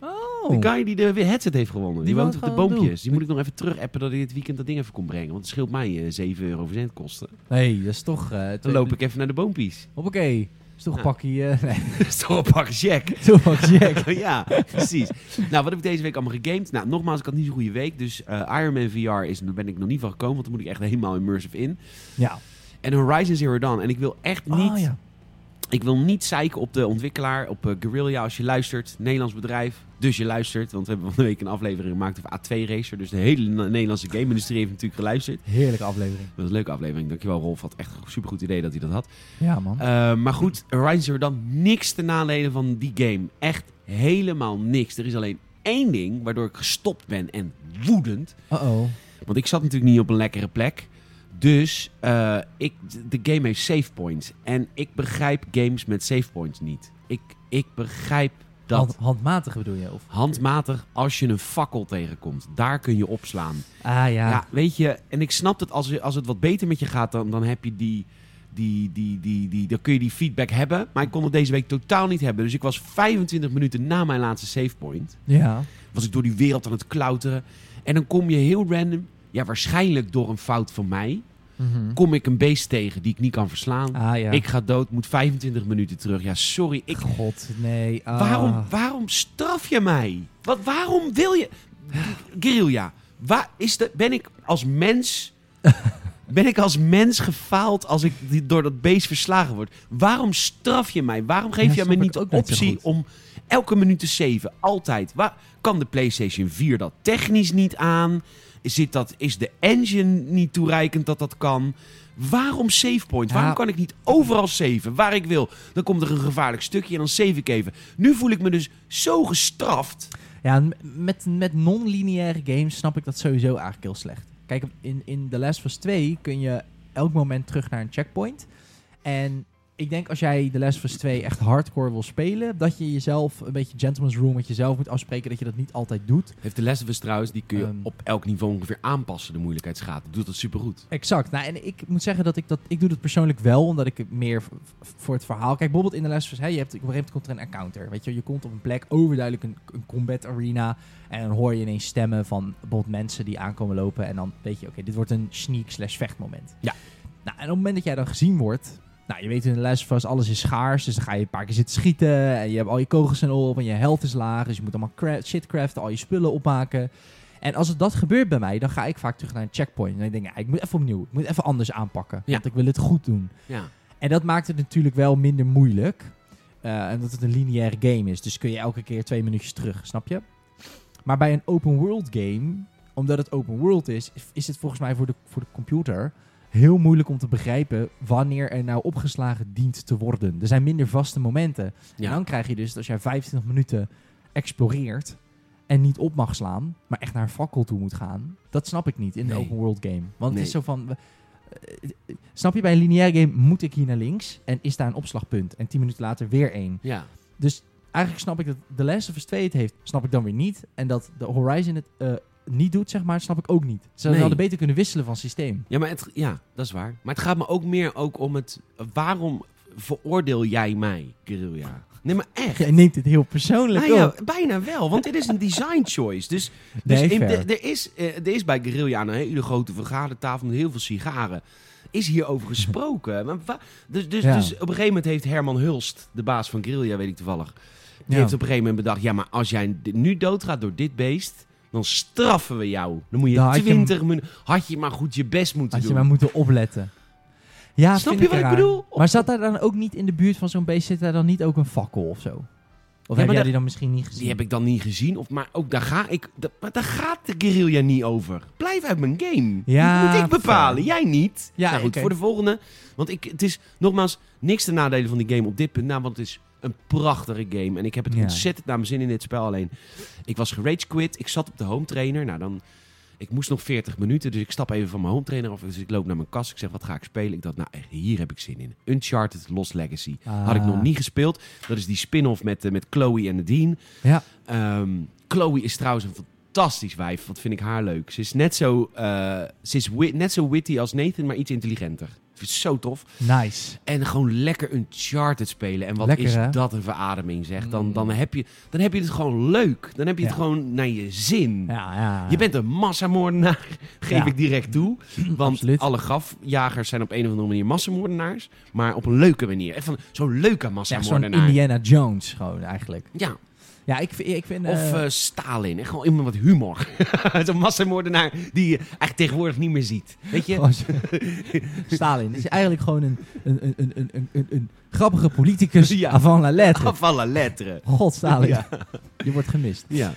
S2: Oh.
S1: Die guy die de wi- headset heeft gewonnen. Die,
S2: Die
S1: woont
S2: woont
S1: op de
S2: gewoon op de
S1: boompjes.
S2: hoek.
S1: Die moet ik nog even terugappen dat hij dit weekend dat ding even kon brengen. Want het scheelt mij eh, 7 euro verzend kosten.
S2: Nee, dat is toch... eh
S1: Dan loop ik even naar de boompies.
S2: Hoppakee. Dat is toch een
S1: Ja.
S2: pakje... eh, nee,
S1: Dat is toch een pak check.
S2: toch een jack.
S1: ja, precies. Nou, wat heb ik deze week allemaal gegamed? Nou, nogmaals, ik had niet zo'n goede week. Dus eh, Iron Man VR is, daar ben ik nog niet van gekomen. Want dan moet ik echt helemaal immersive in.
S2: Ja.
S1: En Horizon Zero Dawn. En ik wil echt niet...
S2: Oh, ja.
S1: Ik wil niet zeiken op de ontwikkelaar, op eh, Guerrilla als je luistert. Nederlands bedrijf, dus je luistert. Want we hebben van de week een aflevering gemaakt over A2 Racer. Dus de hele Na- Nederlandse game-industrie heeft natuurlijk geluisterd.
S2: Heerlijke aflevering.
S1: Dat was een leuke aflevering. Dankjewel Rolf, had echt een supergoed idee dat hij dat had.
S2: Ja, man.
S1: Eh, maar goed, Horizon Zero Dawn, niks te nadelen van die game. Echt helemaal niks. Er is alleen één ding waardoor ik gestopt ben en woedend.
S2: Uh-oh.
S1: Want ik zat natuurlijk niet op een lekkere plek. Dus eh, ik, de game heeft save points. En ik begrijp games met save points niet. Ik, ik begrijp dat
S2: Hand- handmatig bedoel je? Of?
S1: handmatig als je een fakkel tegenkomt. Daar kun je opslaan.
S2: Ah,
S1: Ja,
S2: ja.
S1: weet je. En ik snap dat als, je- als het wat beter met je gaat, dan, dan heb je die. Die, die, die, die, dan kun je die feedback hebben. Maar ik kon het deze week totaal niet hebben. Dus ik was 25 minuten na mijn laatste save point
S2: Ja.
S1: was ik door die wereld aan het klauteren. En dan kom je heel random, ja waarschijnlijk door een fout van mij,
S2: Mhm.
S1: kom ik een beest tegen die ik niet kan verslaan.
S2: Ah, ja.
S1: Ik ga dood, moet 25 minuten terug. Ja, sorry. Ik,
S2: God, nee. ah.
S1: waarom, waarom straf je mij? Wat, waarom wil je... Guerrilla, waar is de, ben ik als mens... Ben ik als mens gefaald als ik die- door dat beest verslagen word? Waarom straf je mij? Waarom
S2: Ja,
S1: geef je
S2: snap
S1: mij
S2: ik
S1: niet de
S2: ook niet zo
S1: optie
S2: goed.
S1: om elke minuut te zeven? Altijd. Waar, kan de PlayStation 4 dat technisch niet aan? Zit dat, is de engine niet toereikend dat dat kan? Waarom savepoint?
S2: Ja.
S1: Waarom kan ik niet overal saven waar ik wil? Dan komt er een gevaarlijk stukje en dan save ik even. Nu voel ik me dus zo gestraft.
S2: Ja, en met, met non-lineaire games snap ik dat sowieso eigenlijk heel slecht. Kijk, in, in The Last of Us 2 kun je elk moment terug naar een checkpoint. En ik denk als jij The Last of Us 2 echt hardcore wil spelen, dat je jezelf een beetje gentleman's rule met jezelf moet afspreken dat je dat niet altijd doet.
S1: Heeft de Last of Us trouwens, die kun je
S2: Ehm.
S1: op elk niveau ongeveer aanpassen, de moeilijkheidsgraad. Dat doet dat supergoed.
S2: Exact. Nou, en ik moet zeggen dat ik dat, ik doe dat persoonlijk wel, omdat ik het meer v- v- voor het verhaal. Kijk, bijvoorbeeld in The Last of Us, hè, je hebt, op een gegeven moment komt er een encounter. Weet je, je komt op een plek, overduidelijk een, een combat arena. En dan hoor je ineens stemmen van bijvoorbeeld mensen die aankomen lopen. En dan weet je, oké, dit wordt een sneak slash vechtmoment.
S1: Ja.
S2: Nou, en op het moment dat jij dan gezien wordt... Nou, je weet in de les vast, alles is schaars. Dus dan ga je een paar keer zitten schieten. En je hebt al je kogels zijn op en je health is laag. Dus je moet allemaal cra- shit craften, al je spullen opmaken. En als het dat gebeurt bij mij, dan ga ik vaak terug naar een checkpoint. En ik denk, ja, ik moet even opnieuw. Ik moet even anders aanpakken.
S1: Ja.
S2: Want ik wil het goed doen.
S1: Ja.
S2: En dat maakt het natuurlijk wel minder moeilijk. Eh, en dat het een lineaire game is. Dus kun je elke keer twee minuutjes terug, snap je? Maar bij een open world game, omdat het open world is, is het volgens mij voor de, voor de computer heel moeilijk om te begrijpen wanneer er nou opgeslagen dient te worden. Er zijn minder vaste momenten.
S1: Ja.
S2: En dan krijg je dus, dat als jij 25 minuten exploreert en niet op mag slaan, maar echt naar een fakkel toe moet gaan, dat snap ik niet in
S1: Nee.
S2: een open world game. Want
S1: Nee.
S2: het is zo van, we- eh, eh, snap je, bij een lineair game moet ik hier naar links en is daar een opslagpunt en 10 minuten later weer één.
S1: Ja.
S2: Dus eigenlijk snap ik dat The Last of Us 2 het heeft, snap ik dan weer niet. En dat de Horizon het eh, niet doet, zeg maar, snap ik ook niet. Ze
S1: Nee.
S2: hadden beter kunnen wisselen van systeem.
S1: Ja, maar het, ja, dat is waar. Maar het gaat me ook meer ook om het... Waarom veroordeel jij mij, Guerrilla? Nee, maar echt.
S2: Jij neemt dit heel persoonlijk
S1: Nou ja,
S2: op.
S1: bijna wel, want dit is een design choice. Dus, dus
S2: Nee,
S1: in-
S2: fair.
S1: de- er, is, eh, er is bij Guerrilla aan een hele grote vergadertafel met heel veel sigaren. Is hierover gesproken. Maar wa- dus, dus,
S2: Ja.
S1: dus op een gegeven moment heeft Herman Hulst, de baas van Guerrilla, weet ik toevallig. Die
S2: Ja.
S1: heeft op een gegeven moment bedacht: ja, maar als jij d- nu doodgaat door dit beest. Dan straffen we jou. Dan moet je
S2: Dan Nou, had je hem-
S1: 20 minuten. Had je maar goed je best moeten
S2: Had je
S1: doen.
S2: maar moeten opletten. Ja,
S1: Snap
S2: vind
S1: je wat ik
S2: raar.
S1: bedoel?
S2: Maar zat daar dan ook niet in de buurt van zo'n beest, zit daar dan niet ook een fakkel of zo? Of
S1: maar
S2: heb jij
S1: dat-
S2: die dan misschien niet gezien?
S1: Die heb ik dan niet gezien. Of, maar ook daar ga ik. da- maar daar gaat de guerrilla niet over. Blijf uit mijn game.
S2: Ja,
S1: Die moet ik bepalen.
S2: fair.
S1: Jij niet.
S2: Ja,
S1: nou goed,
S2: oké.
S1: voor de volgende. Want ik, het is nogmaals niks te nadelen van die game op dit punt. Nou, want het is een prachtige game. En ik heb het
S2: Ja.
S1: ontzettend naar mijn zin in dit spel. Alleen, ik was gerage quit. Ik zat op de home trainer. Nou, dan. ik moest nog 40 minuten, dus ik stap even van mijn home trainer af. Dus ik loop naar mijn kast. Ik zeg, wat ga ik spelen? Ik dacht, nou, echt, hier heb ik zin in. Uncharted Lost Legacy. Had ik
S2: Ah.
S1: nog niet gespeeld. Dat is die spin-off met, eh, met Chloe en Nadine.
S2: Ja.
S1: Ehm, Chloe is trouwens een fantastisch wijf. Wat vind ik haar leuk. Ze is net zo, eh, ze is wit, net zo witty als Nathan, maar iets intelligenter. Ik vind het zo tof.
S2: Nice.
S1: En gewoon lekker Uncharted spelen. En wat
S2: Lekker,
S1: is
S2: hè?
S1: dat een verademing, zeg. Dan,
S2: Mm.
S1: dan, heb je, dan heb je het gewoon leuk. Dan heb je het
S2: Ja.
S1: gewoon naar je zin.
S2: Ja, ja.
S1: Je bent een massamoordenaar, geef
S2: Ja.
S1: ik direct toe. Want
S2: Absoluut.
S1: alle grafjagers zijn op een of andere manier massamoordenaars. Maar op een leuke manier. Echt van Zo'n leuke
S2: Ja, zo'n
S1: massamoordenaar. Ja,
S2: Indiana Jones gewoon eigenlijk. Ja, ik, vind- ik vind...
S1: Of
S2: eh,
S1: eh, Stalin. Echt gewoon iemand met humor. zo'n massamoordenaar die je eigenlijk tegenwoordig niet meer ziet. Weet je?
S2: gewoon zo- Stalin is eigenlijk gewoon een, een, een, een, een, een, een, een grappige politicus
S1: Ja.
S2: avant la lettre.
S1: Af alle letteren.
S2: God, Stalin.
S1: Ja.
S2: Je wordt gemist.
S1: Ja.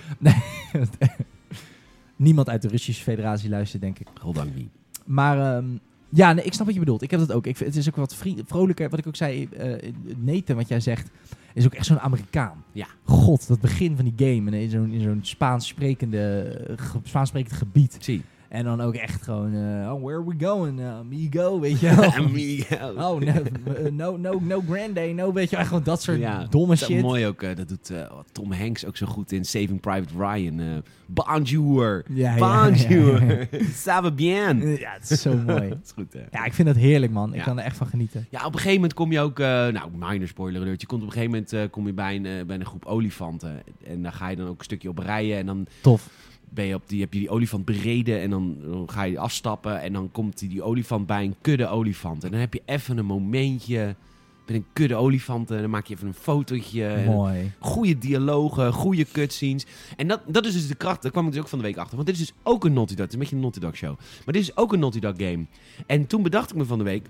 S2: Niemand uit de Russische federatie luistert, denk ik.
S1: Goddank wie.
S2: Maar ehm, ja, nee, ik snap wat je bedoelt. Ik heb dat ook. Ik, vind- het is ook wat vrie- vrolijker. Wat ik ook zei, eh Nathan, wat jij zegt, is ook echt zo'n Amerikaan.
S1: Ja.
S2: God, dat begin van die game. En in zo'n, in zo'n Spaans, sprekende, eh, ge- Spaans sprekend gebied.
S1: Zie.
S2: En dan ook echt gewoon, eh, oh, where we going, eh, amigo, weet je wel.
S1: Amigo.
S2: Oh, no, eh, no, no, no grande, no, weet je wel. Gewoon dat soort
S1: Ja,
S2: domme
S1: Dat is
S2: shit.
S1: mooi ook. eh, dat doet eh, wat Tom Hanks ook zo goed in Saving Private Ryan. eh bonjour.
S2: Ja, ja, ja,
S1: Bonjour.
S2: ja.
S1: Ça va bien.
S2: Ja, het is zo mooi.
S1: Dat is goed, hè?
S2: Ja, ik vind dat heerlijk, man. Ik
S1: Ja.
S2: kan er echt van genieten.
S1: Ja, op een gegeven moment kom je ook, eh, nou, minor spoiler alert, je komt op een gegeven moment eh, kom je bij, een, eh, bij een groep olifanten. En daar ga je dan ook een stukje op rijden en dan
S2: Tof.
S1: ben je op die, heb je die olifant bereden en dan, dan ga je afstappen. En dan komt die, die olifant bij een kudde olifant. En dan heb je even een momentje met een kudde olifanten en dan maak je even een fotootje. En
S2: mooi.
S1: Goede dialogen, goede cutscenes. En dat, dat is dus de kracht. Daar kwam ik dus ook van de week achter. Want dit is dus ook een Naughty Dog. Het is een beetje een Naughty Dog show. Maar dit is ook een Naughty Dog game. En toen bedacht ik me van de week...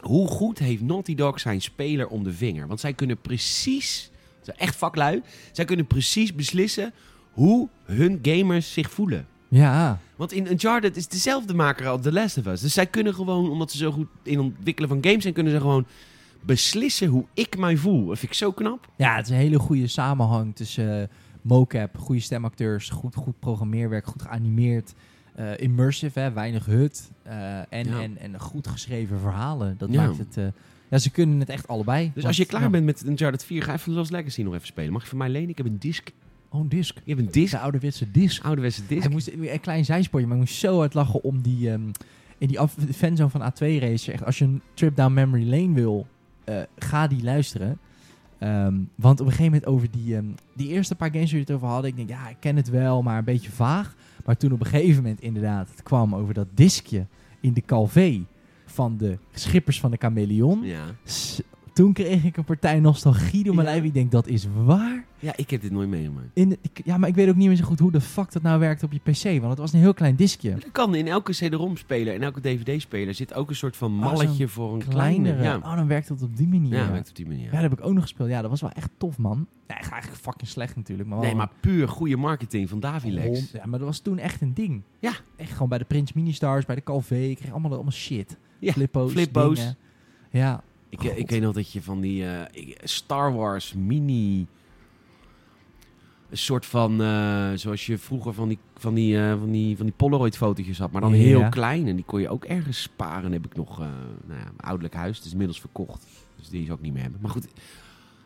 S1: Hoe goed heeft Naughty Dog zijn speler om de vinger? Want zij kunnen precies... Ze zijn echt vaklui. Zij kunnen precies beslissen hoe hun gamers zich voelen.
S2: Ja.
S1: Want in Uncharted is dezelfde maker als The Last of Us. Dus zij kunnen gewoon, omdat ze zo goed in ontwikkelen van games zijn... kunnen ze gewoon beslissen hoe ik mij voel. Dat vind ik zo knap.
S2: Ja, het is een hele goede samenhang tussen eh, mocap, goede stemacteurs, goed, goed programmeerwerk, goed geanimeerd, eh, immersive, hè, weinig hut eh, en,
S1: Ja.
S2: en, en goed geschreven verhalen. Dat
S1: Ja.
S2: maakt het... eh, ja, ze kunnen het echt allebei.
S1: Dus
S2: Want-
S1: als je klaar
S2: ja.
S1: bent met Uncharted 4, ga even Lost Legacy nog even spelen. Mag je van mij lenen? Ik heb een disc.
S2: Oh, een disc.
S1: Ik heb een
S2: Is
S1: disc.
S2: een ouderwetse disc.
S1: Ouderwetse disc.
S2: Ik moest, een klein zijspoortje, maar ik moest zo hard lachen om die... ehm, in die af, fanzone van A2 Race, echt, als je een trip down memory lane wil, eh, ga die luisteren. Ehm, want op een gegeven moment over die, ehm, die eerste paar games waar je het over hadden, ik denk, ja, ik ken het wel, maar een beetje vaag. Maar toen op een gegeven moment inderdaad het kwam over dat diskje in de Calvé van de schippers van de Chameleon.
S1: Ja.
S2: S- Toen kreeg ik een partij nostalgie door mijn
S1: Ja.
S2: lijf. Ik denk, dat is waar.
S1: ja, ik heb dit nooit meegemaakt.
S2: In de- ik- ja, maar ik weet ook niet meer zo goed hoe de fuck dat nou werkt op je PC, want het was een heel klein diskje.
S1: Dat kan in elke CD-ROM-speler en elke DVD-speler zit ook een soort van
S2: Oh, zo'n
S1: malletje voor een kleinere.
S2: Kleinere.
S1: Ja,
S2: Oh, dan werkt het op die manier.
S1: ja werkt op die manier.
S2: Ja, dat heb ik ook nog gespeeld. Ja, dat was wel echt tof, man. Ja, echt eigenlijk fucking slecht natuurlijk. Maar wel
S1: Nee, maar puur goede marketing van
S2: Hond-
S1: Davilex.
S2: Ja, maar dat was toen echt een ding.
S1: Ja.
S2: Echt gewoon bij de Prins Ministars, bij de Calvé. Ik kreeg allemaal, allemaal shit.
S1: Ja,
S2: Flippo's.
S1: flippo's.
S2: dingen. Ja.
S1: Ik, eh, ik
S2: God.
S1: weet nog dat je van die eh, ik- Star Wars mini... Een soort van, eh, zoals je vroeger van die, van die, eh, van die, van die Polaroid-fotootjes had, maar dan
S2: Ja.
S1: heel klein. En die kon je ook ergens sparen, heb ik nog. eh nou ja, mijn ouderlijk huis, het is inmiddels verkocht. Dus die zou ik niet meer hebben. Maar goed,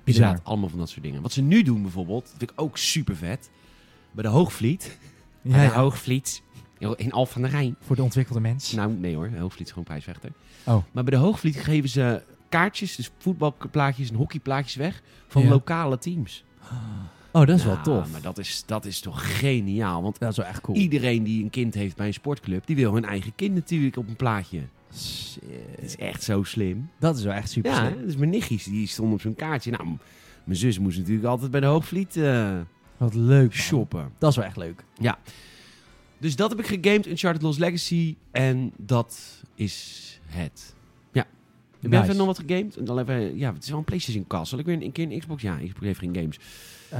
S1: inderdaad, allemaal van dat soort dingen. Wat ze nu doen bijvoorbeeld, dat vind ik ook super vet. Bij de Hoogvliet.
S2: Ja,
S1: Bij
S2: ja.
S1: de Hoogvliet. In Alphen aan de Rijn.
S2: Voor de ontwikkelde mens.
S1: Nou, nee hoor. Hoogvliet is gewoon prijsvechter.
S2: Oh.
S1: Maar bij de Hoogvliet geven ze kaartjes, dus voetbalplaatjes en hockeyplaatjes weg van
S2: Ja.
S1: lokale teams.
S2: Oh, dat is wel
S1: Nou,
S2: tof.
S1: Maar dat is, dat is toch geniaal? Want
S2: Dat is wel echt cool.
S1: iedereen die een kind heeft bij een sportclub, die wil hun eigen kind natuurlijk op een plaatje. Het is
S2: Shit.
S1: echt zo slim.
S2: Dat is wel echt super
S1: Ja,
S2: slim.
S1: dus mijn nichtjes die stonden op zo'n kaartje. Nou, m- mijn zus moest natuurlijk altijd bij de Hoogvliet eh,
S2: Wat leuk. man.
S1: shoppen.
S2: Dat is wel echt leuk.
S1: Dus dat heb ik gegamed, Uncharted Lost Legacy. En dat is het. Ja. Heb jij
S2: Nice.
S1: even nog wat gegamed? En Dan even, ja, het is wel een PlayStation kast. Zal ik weer een, een keer een Xbox? Ja, Xbox heeft geen games.
S2: Eh,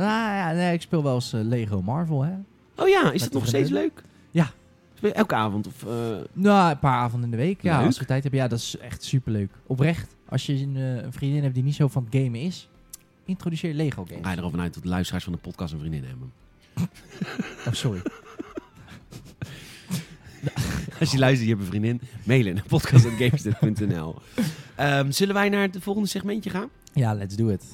S2: nou ja, nee, ik speel wel eens eh, Lego Marvel, hè.
S1: Oh ja, is
S2: Met
S1: dat
S2: de
S1: nog steeds
S2: vriendin?
S1: leuk?
S2: Ja.
S1: Speel je Elke avond of... eh,
S2: Nou, een paar avonden in de week. Ja,
S1: Leuk.
S2: als we tijd hebben. Ja, dat is echt superleuk. Oprecht, als je een, eh, een vriendin hebt die niet zo van het gamen is, introduceer Lego games. Ah,
S1: ga je erover uit dat de luisteraars van de podcast een vriendin hebben?
S2: Oh, sorry.
S1: Als je luistert, je hebt een vriendin. Mailen naar podcast.gamesnet.nl Ehm, Zullen wij naar het volgende segmentje gaan?
S2: Ja, let's do it.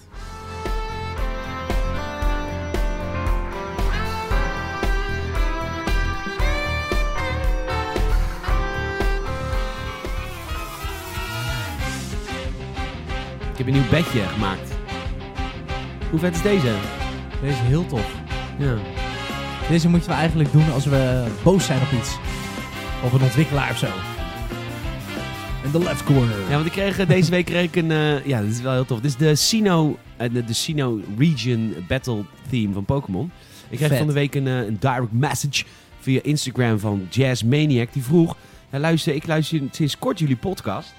S1: Ik heb een nieuw bedje gemaakt. Hoe vet is deze?
S2: Deze is heel tof.
S1: Ja.
S2: Deze moeten we eigenlijk doen als we boos zijn op iets. Of een ontwikkelaar of zo. In de left corner.
S1: Ja, want ik kreeg, eh, deze week kreeg ik een... eh, ja, dit is wel heel tof. Dit is de Sino, eh, de, de Sino Region Battle Theme van Pokémon. Ik kreeg
S2: Vet.
S1: van de week een, eh, een direct message via Instagram van Jazz Maniac. Die vroeg, "Ja, luister, ik luister sinds kort jullie podcast.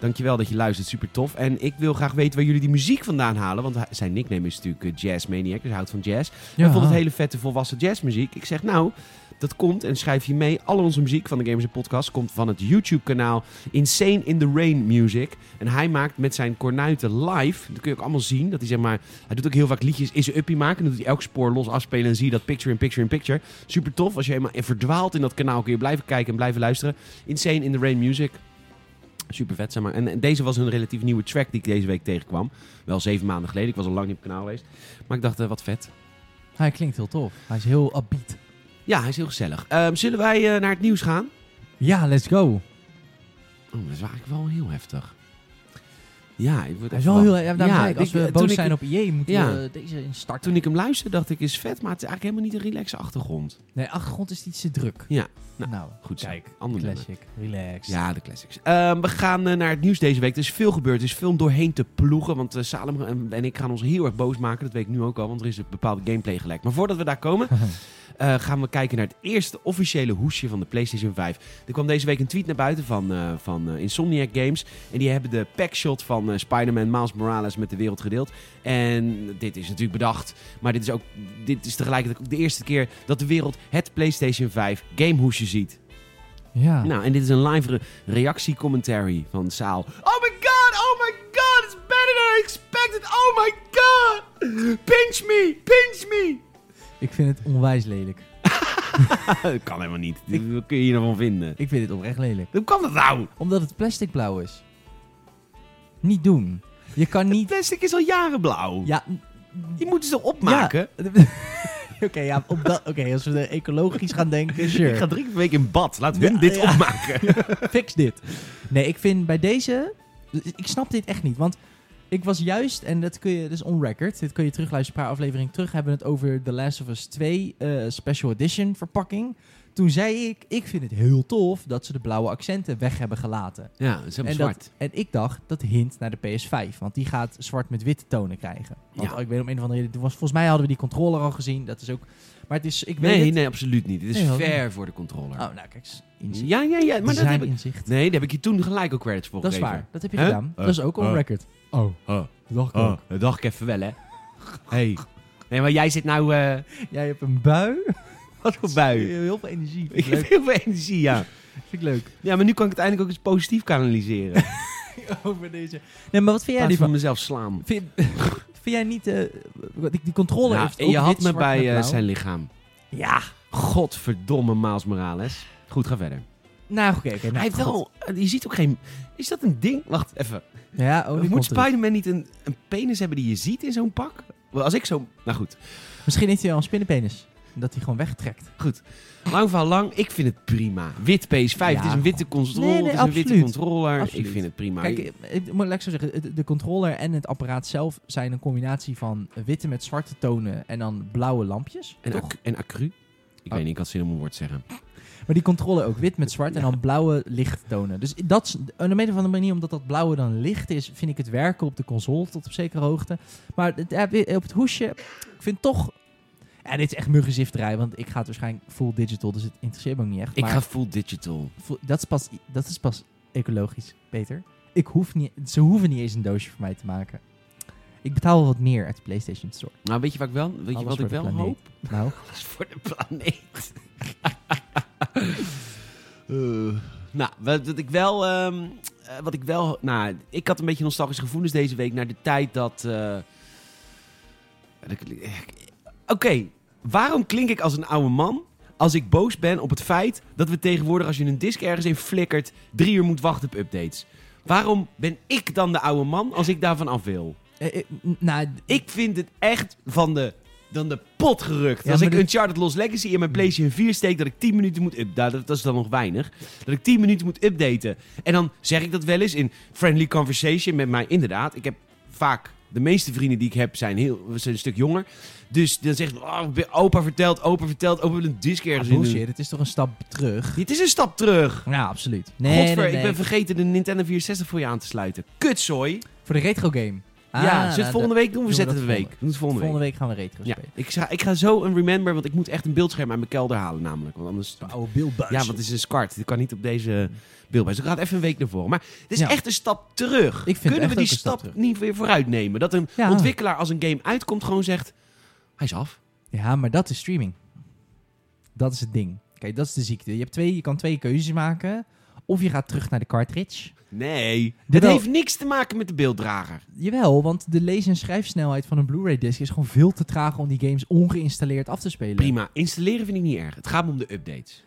S1: Dankjewel dat je luistert, super tof. En ik wil graag weten waar jullie die muziek vandaan halen. Want hij- zijn nickname is natuurlijk eh, Jazz Maniac, dus hij houdt van jazz. Hij vond het hele vette volwassen jazzmuziek. Ik zeg nou, dat komt en schrijf je mee. Al onze muziek van de Gamers en Podcast komt van het YouTube kanaal Insane in the Rain Music. En hij maakt met zijn kornuiten live, dat kun je ook allemaal zien, dat hij zeg maar, hij doet ook heel vaak liedjes is uppie maken. Dan doet hij elk spoor los afspelen en zie je dat picture in picture in picture. Super tof, als je helemaal verdwaalt in dat kanaal kun je blijven kijken en blijven luisteren. Insane in the Rain Music. Super vet, zeg maar. En, en deze was een relatief nieuwe track die ik deze week tegenkwam. Wel zeven maanden geleden. Ik was al lang niet op het kanaal geweest. Maar ik dacht, eh, wat vet.
S2: Hij klinkt heel tof. Hij is heel upbeat.
S1: Ja, hij is heel gezellig. Ehm, zullen wij eh, naar het nieuws gaan?
S2: Ja, let's go.
S1: Oh, dat is eigenlijk wel heel heftig. Ja, ik word
S2: Hij is
S1: even
S2: wel heel...
S1: warm.
S2: Ja, daarom
S1: Ja,
S2: zei ik, als
S1: ik- eh,
S2: we
S1: toen
S2: boos
S1: ik-
S2: zijn op IE, moeten
S1: Ja.
S2: we deze instarten.
S1: Toen ik hem luisterde, dacht ik, is vet, maar het is eigenlijk helemaal niet een relaxe achtergrond.
S2: Nee, achtergrond is iets te druk.
S1: Ja, nou, goed
S2: goed
S1: zo.
S2: kijk.
S1: Ander
S2: Classic. Relax.
S1: Ja, de classics. Ehm, we gaan eh, naar het nieuws deze week. Er is veel gebeurd. Er is veel om doorheen te ploegen. Want eh, Salem en, en ik gaan ons heel erg boos maken. Dat weet ik nu ook al, want er is een bepaalde gameplay gelijk. Maar voordat we daar komen, eh, gaan we kijken naar het eerste officiële hoesje van de PlayStation 5. Er kwam deze week een tweet naar buiten van, eh, van eh, Insomniac Games. En die hebben de packshot van eh, Spider-Man Miles Morales met de wereld gedeeld. En dit is natuurlijk bedacht. Maar dit is, ook, dit is tegelijkertijd ook de eerste keer dat de wereld het PlayStation 5 gamehoesje ziet.
S2: Ja.
S1: Nou, en dit is een live re- reactie-commentary van Saal. Oh my god, oh my god, it's better than I expected. Oh my god, pinch me, pinch me.
S2: Ik vind het onwijs lelijk.
S1: dat kan helemaal niet. Wat kun je hier nou van vinden?
S2: Ik vind het oprecht lelijk.
S1: Hoe kan dat nou?
S2: Omdat het plastic blauw is. Niet doen. Je kan niet...
S1: Plastic is al jaren blauw.
S2: Ja,
S1: Je moet het zo opmaken.
S2: Ja. Oké, ja, op dat- oké, als we er ecologisch gaan denken, sure.
S1: Ik ga drie keer per week in bad. Laat
S2: Ja,
S1: hun dit
S2: ja.
S1: opmaken.
S2: Fix dit. Nee, ik vind bij deze... Ik snap dit echt niet, want ik was juist... En dat kun je... Dat is on record. Dit kun je terugluisteren, een paar afleveringen terug. Hebben we het over The Last of Us 2 eh, Special Edition verpakking. Toen zei ik, ik vind het heel tof dat ze de blauwe accenten weg hebben gelaten.
S1: Ja, ze hebben
S2: En, dat, en ik dacht, dat hint naar de PS5. Want die gaat zwart met witte tonen krijgen. Want
S1: Ja.
S2: oh, ik weet om een of andere reden... toen was- Volgens mij hadden we die controller al gezien. Dat is ook... Maar het is... Ik weet
S1: Nee,
S2: het-
S1: nee, absoluut niet. Dit is
S2: Nee, wel.
S1: ver voor de controller.
S2: Oh, nou kijk eens. Inzicht.
S1: ja, ja, ja. Maar dat heb ik...
S2: inzicht.
S1: Nee, daar heb ik je toen gelijk ook credits voor
S2: Dat is
S1: gegeven.
S2: waar. Dat heb je
S1: Hè?
S2: gedaan.
S1: Eh,
S2: dat is ook on
S1: eh.
S2: record. Oh,
S1: Oh,
S2: dat dacht ik
S1: oh,
S2: ook.
S1: dat dacht ik even wel, hè. Hey. Nee, maar jij zit nou... eh,
S2: Jij hebt een bui.
S1: Wat voor bui.
S2: Heel veel energie.
S1: Ik
S2: Vind ik
S1: heb
S2: leuk.
S1: heel veel energie, ja.
S2: Vind ik leuk.
S1: Ja, maar nu kan ik het eindelijk ook eens positief kanaliseren. In
S2: Over deze. Nee, maar wat vind jij
S1: plaats van
S2: ervan?
S1: mezelf slaan.
S2: Vind, vind jij niet... eh, wat ik die controle
S1: Nou,
S2: heeft ook
S1: je had
S2: wit,
S1: me
S2: zwart
S1: bij
S2: met
S1: eh,
S2: blauw.
S1: zijn lichaam.
S2: Ja.
S1: Godverdomme Maals Morales. Goed, ga verder.
S2: Nou, oké. oké, nou,
S1: Hij heeft
S2: goed.
S1: wel... eh, Je ziet ook geen... Is dat een ding? Wacht, even.
S2: Ja, oh, dat
S1: Moet
S2: komt terug.
S1: Spider-Man niet een, een penis hebben die je ziet in zo'n pak? Wel, Als ik zo... Nou goed.
S2: Misschien heeft hij al een spinnenpenis. Dat hij gewoon wegtrekt.
S1: Lang van lang, ik vind het prima. Wit PS5, het is
S2: Ja,
S1: een witte controller.
S2: Nee, nee,
S1: het is een witte
S2: absoluut.
S1: controller. Ik
S2: Absoluut.
S1: vind het prima.
S2: Kijk, eh, ik moet ik zo zeggen. het- De controller en het apparaat zelf zijn een combinatie van witte met zwarte tonen en dan blauwe lampjes.
S1: en,
S2: toch?
S1: accu- en accru? Ik
S2: Oh.
S1: weet niet, ik had zin om een woord te zeggen.
S2: Maar die controle ook wit met zwart en dan blauwe lichttonen. Dus dat is aan de een of andere manier, omdat dat blauwe dan licht is, vind ik het werken op de console tot op zekere hoogte. Maar het- eh, weer op het hoesje, ik vind toch. En dit is echt muggenzifterij, want ik ga het waarschijnlijk full digital, dus het interesseert me ook niet echt.
S1: Ik
S2: maar
S1: ga full digital.
S2: vo- dat, is pas, dat is pas ecologisch, Peter. Ik hoef niet, ze hoeven niet eens een doosje voor mij te maken. Ik betaal wel wat meer uit de PlayStation Store.
S1: Nou, weet je wat ik wel, weet je
S2: Alles
S1: wat
S2: voor
S1: ik
S2: de
S1: wel
S2: planeet.
S1: hoop?
S2: Nou,
S1: Alles voor de planeet. Eh, nou, wat, wat ik wel... ehm, eh, wat ik wel... Nou, ik had een beetje nostalgische gevoelens deze week naar de tijd dat... eh, dat ik- eh, Oké, waarom klink ik als een oude man... als ik boos ben op het feit dat we tegenwoordig als je een disk ergens in flikkert, drie uur moet wachten op updates. Waarom ben ik dan de oude man als ik daarvan af wil?
S2: Eh, eh, n- nou,
S1: Ik vind het echt van de, dan de pot gerukt.
S2: Ja,
S1: Als
S2: maar
S1: ik
S2: dit-
S1: Uncharted Lost Legacy in mijn PlayStation 4 steek, dat ik 10 minuten moet updaten. Dat, dat is dan nog weinig. Dat ik 10 minuten moet updaten. En dan zeg ik dat wel eens in friendly conversation met mij. Inderdaad, ik heb vaak. De meeste vrienden die ik heb zijn, heel, zijn een stuk jonger. Dus dan zegt oh, opa vertelt, opa vertelt, opa wil een disc ergens
S2: ah,
S1: in doen.
S2: bullshit, het is toch een stap terug?
S1: Dit is een stap terug.
S2: Ja, absoluut.
S1: Nee,
S2: Nee,
S1: Godver,
S2: nee, nee.
S1: ik ben vergeten de Nintendo 64 voor je aan te sluiten. Kutzooi.
S2: Voor de retro game. Ah,
S1: ja,
S2: nou,
S1: zit volgende week doen we
S2: doen we
S1: zetten
S2: dat
S1: de week.
S2: volgende-
S1: Doen we het volgende week.
S2: volgende week gaan we retro
S1: Ja,
S2: spelen.
S1: ik ga, ik ga zo een remember, want ik moet echt een beeldscherm uit mijn kelder halen namelijk. Want anders...
S2: Oude beeldbuis.
S1: Ja, want het is een skart. Ik kan niet op deze beeldbuis. Dus ik ga even een week naar voren. Maar het is
S2: Ja.
S1: echt een stap terug.
S2: vind het
S1: Kunnen
S2: echt
S1: we
S2: ook
S1: die
S2: een stap
S1: stap,
S2: terug.
S1: niet weer vooruit nemen? Dat een
S2: Ja.
S1: ontwikkelaar als een game uitkomt gewoon zegt... Hij is af.
S2: Ja, maar dat is streaming. Dat is het ding. Kijk, dat is de ziekte. Je, hebt twee, je kan twee keuzes maken. Of je gaat terug naar de cartridge.
S1: Nee. Dit
S2: Jawel.
S1: heeft niks te maken met de beelddrager.
S2: Jawel, want de lees- en schrijfsnelheid van een Blu-ray-disc is gewoon veel te traag om die games ongeïnstalleerd af te spelen.
S1: Prima. Installeren vind ik niet erg. Het gaat me om de updates.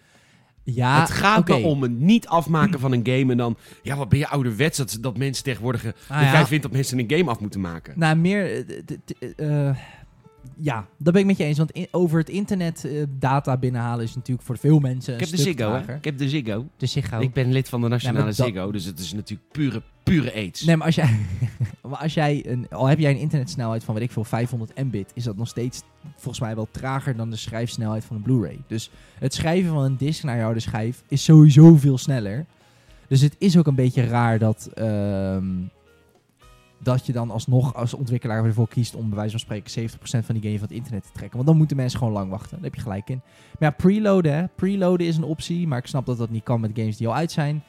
S2: Ja,
S1: het gaat
S2: Ah, oké.
S1: me om het niet afmaken van een game en dan... Ja, wat ben je ouderwets dat, dat mensen tegenwoordig... eh,
S2: Ah,
S1: dat
S2: ja.
S1: jij vindt dat mensen een game af moeten maken.
S2: Nou, meer. eh, d- d- d- eh, ja, dat ben ik met je eens. Want in- over het internet eh, data binnenhalen is natuurlijk voor veel mensen.
S1: Ik
S2: een
S1: heb de
S2: stuk
S1: Ziggo, hè.
S2: trager.
S1: Ik heb de Ziggo.
S2: De Ziggo.
S1: Ik ben lid van de Nationale
S2: Oh. Ja, maar dat-
S1: Ziggo, dus het is natuurlijk pure, pure aids.
S2: Nee, maar als jij, maar als jij een, al heb jij een internetsnelheid van, weet ik veel, 500 mbit, is dat nog steeds volgens mij wel trager dan de schrijfsnelheid van een Blu-ray. Dus het schrijven van een disc naar je harde schijf is sowieso veel sneller. Dus het is ook een beetje raar dat, ehm, dat je dan alsnog als ontwikkelaar ervoor kiest om bij wijze van spreken 70% van die game van het internet te trekken. Want dan moeten mensen gewoon lang wachten. Daar heb je gelijk in. Maar ja, preloaden, hè. Preloaden is een optie, maar ik snap dat dat niet kan met games die al uit zijn.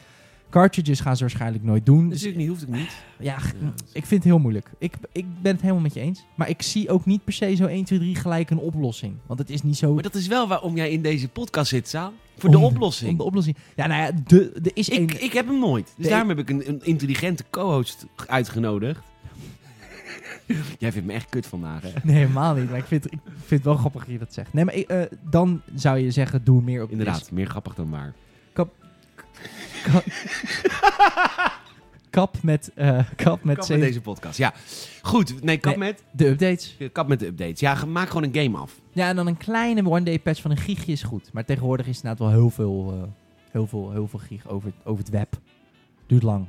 S2: Cartridges gaan ze waarschijnlijk nooit doen. Dus
S1: natuurlijk niet, hoeft ook niet.
S2: ja, g-
S1: Ja.
S2: ik vind het heel moeilijk. Ik, ik ben het helemaal met je eens. Maar ik zie ook niet per se zo 1, 2, 3 gelijk een oplossing. Want het is niet zo...
S1: Maar dat is wel waarom jij in deze podcast zit, Saal. Voor de
S2: om
S1: oplossing.
S2: om de oplossing. Ja, nou ja, de, de is één...
S1: ik, ik heb hem nooit. Dus
S2: De-
S1: daarom heb ik een, een intelligente co-host uitgenodigd. jij vindt me echt kut vandaag, hè?
S2: Nee, helemaal niet. Maar ik vind, ik vind het wel grappig dat je dat zegt. Nee, maar eh, dan zou je zeggen, doe meer op Dus de
S1: Inderdaad, meer grappig dan waar.
S2: disc. Kap met, eh, kap met,
S1: Kap met
S2: zeven-
S1: deze podcast, ja. Goed, nee, kap, Met,
S2: de updates.
S1: kap met de updates. Ja, ge- maak gewoon een game af.
S2: Ja, en dan een kleine one-day patch van een giegje is goed. Maar tegenwoordig is het inderdaad wel heel veel, eh, heel veel, heel veel gieg over, over het web. Duurt lang.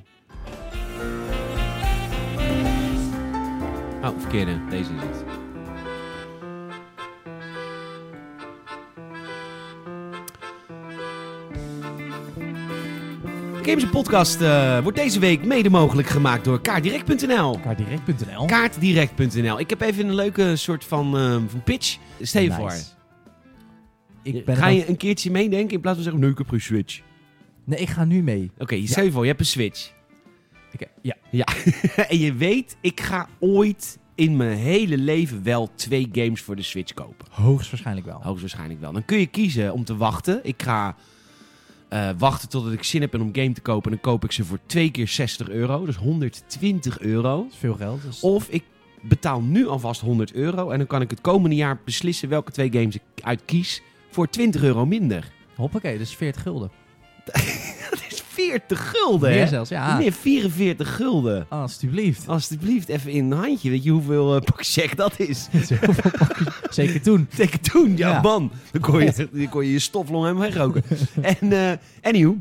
S1: Oh, verkeerde. Deze is het. Games Podcast eh, wordt deze week mede mogelijk gemaakt door kaartdirect.nl.
S2: E Kaardirect.nl
S1: Kaartdirect.nl. Ik heb even een leuke soort van, eh, van pitch. Stel je
S2: Nice.
S1: voor,
S2: Ik ben
S1: ga
S2: er
S1: je een keertje meedenken in plaats van zeggen, nee, ik heb geen Switch.
S2: nog- Nee, ik ga nu mee.
S1: Oké, stel je voor, je hebt een Switch.
S2: Oké, Ja.
S1: en je weet, ik ga ooit in mijn hele leven wel twee games voor de Switch kopen.
S2: Hoogstwaarschijnlijk
S1: Oh.
S2: wel.
S1: Hoogstwaarschijnlijk wel. Dan kun je kiezen om te wachten. Ik ga eh, wachten totdat ik zin heb in om game te kopen. En dan koop ik ze voor twee keer 60 euro. Dus 120 euro.
S2: Dat is veel geld. Dus...
S1: Of ik betaal nu alvast 100 euro. En dan kan ik het komende jaar beslissen welke twee games ik uitkies. Voor 20 euro minder.
S2: Hoppakee, dus 40 gulden.
S1: Dat is 40 gulden, hè?
S2: Meer zelfs, ja.
S1: Meer 44 gulden.
S2: Ah, alsjeblieft.
S1: Alsjeblieft, even in een handje. Weet je hoeveel eh, pak check dat is?
S2: Zeker toen.
S1: Zeker toen, ja,
S2: Ja.
S1: man. Dan kon, je, dan kon je je stoflong helemaal wegroken. en eh anyhow,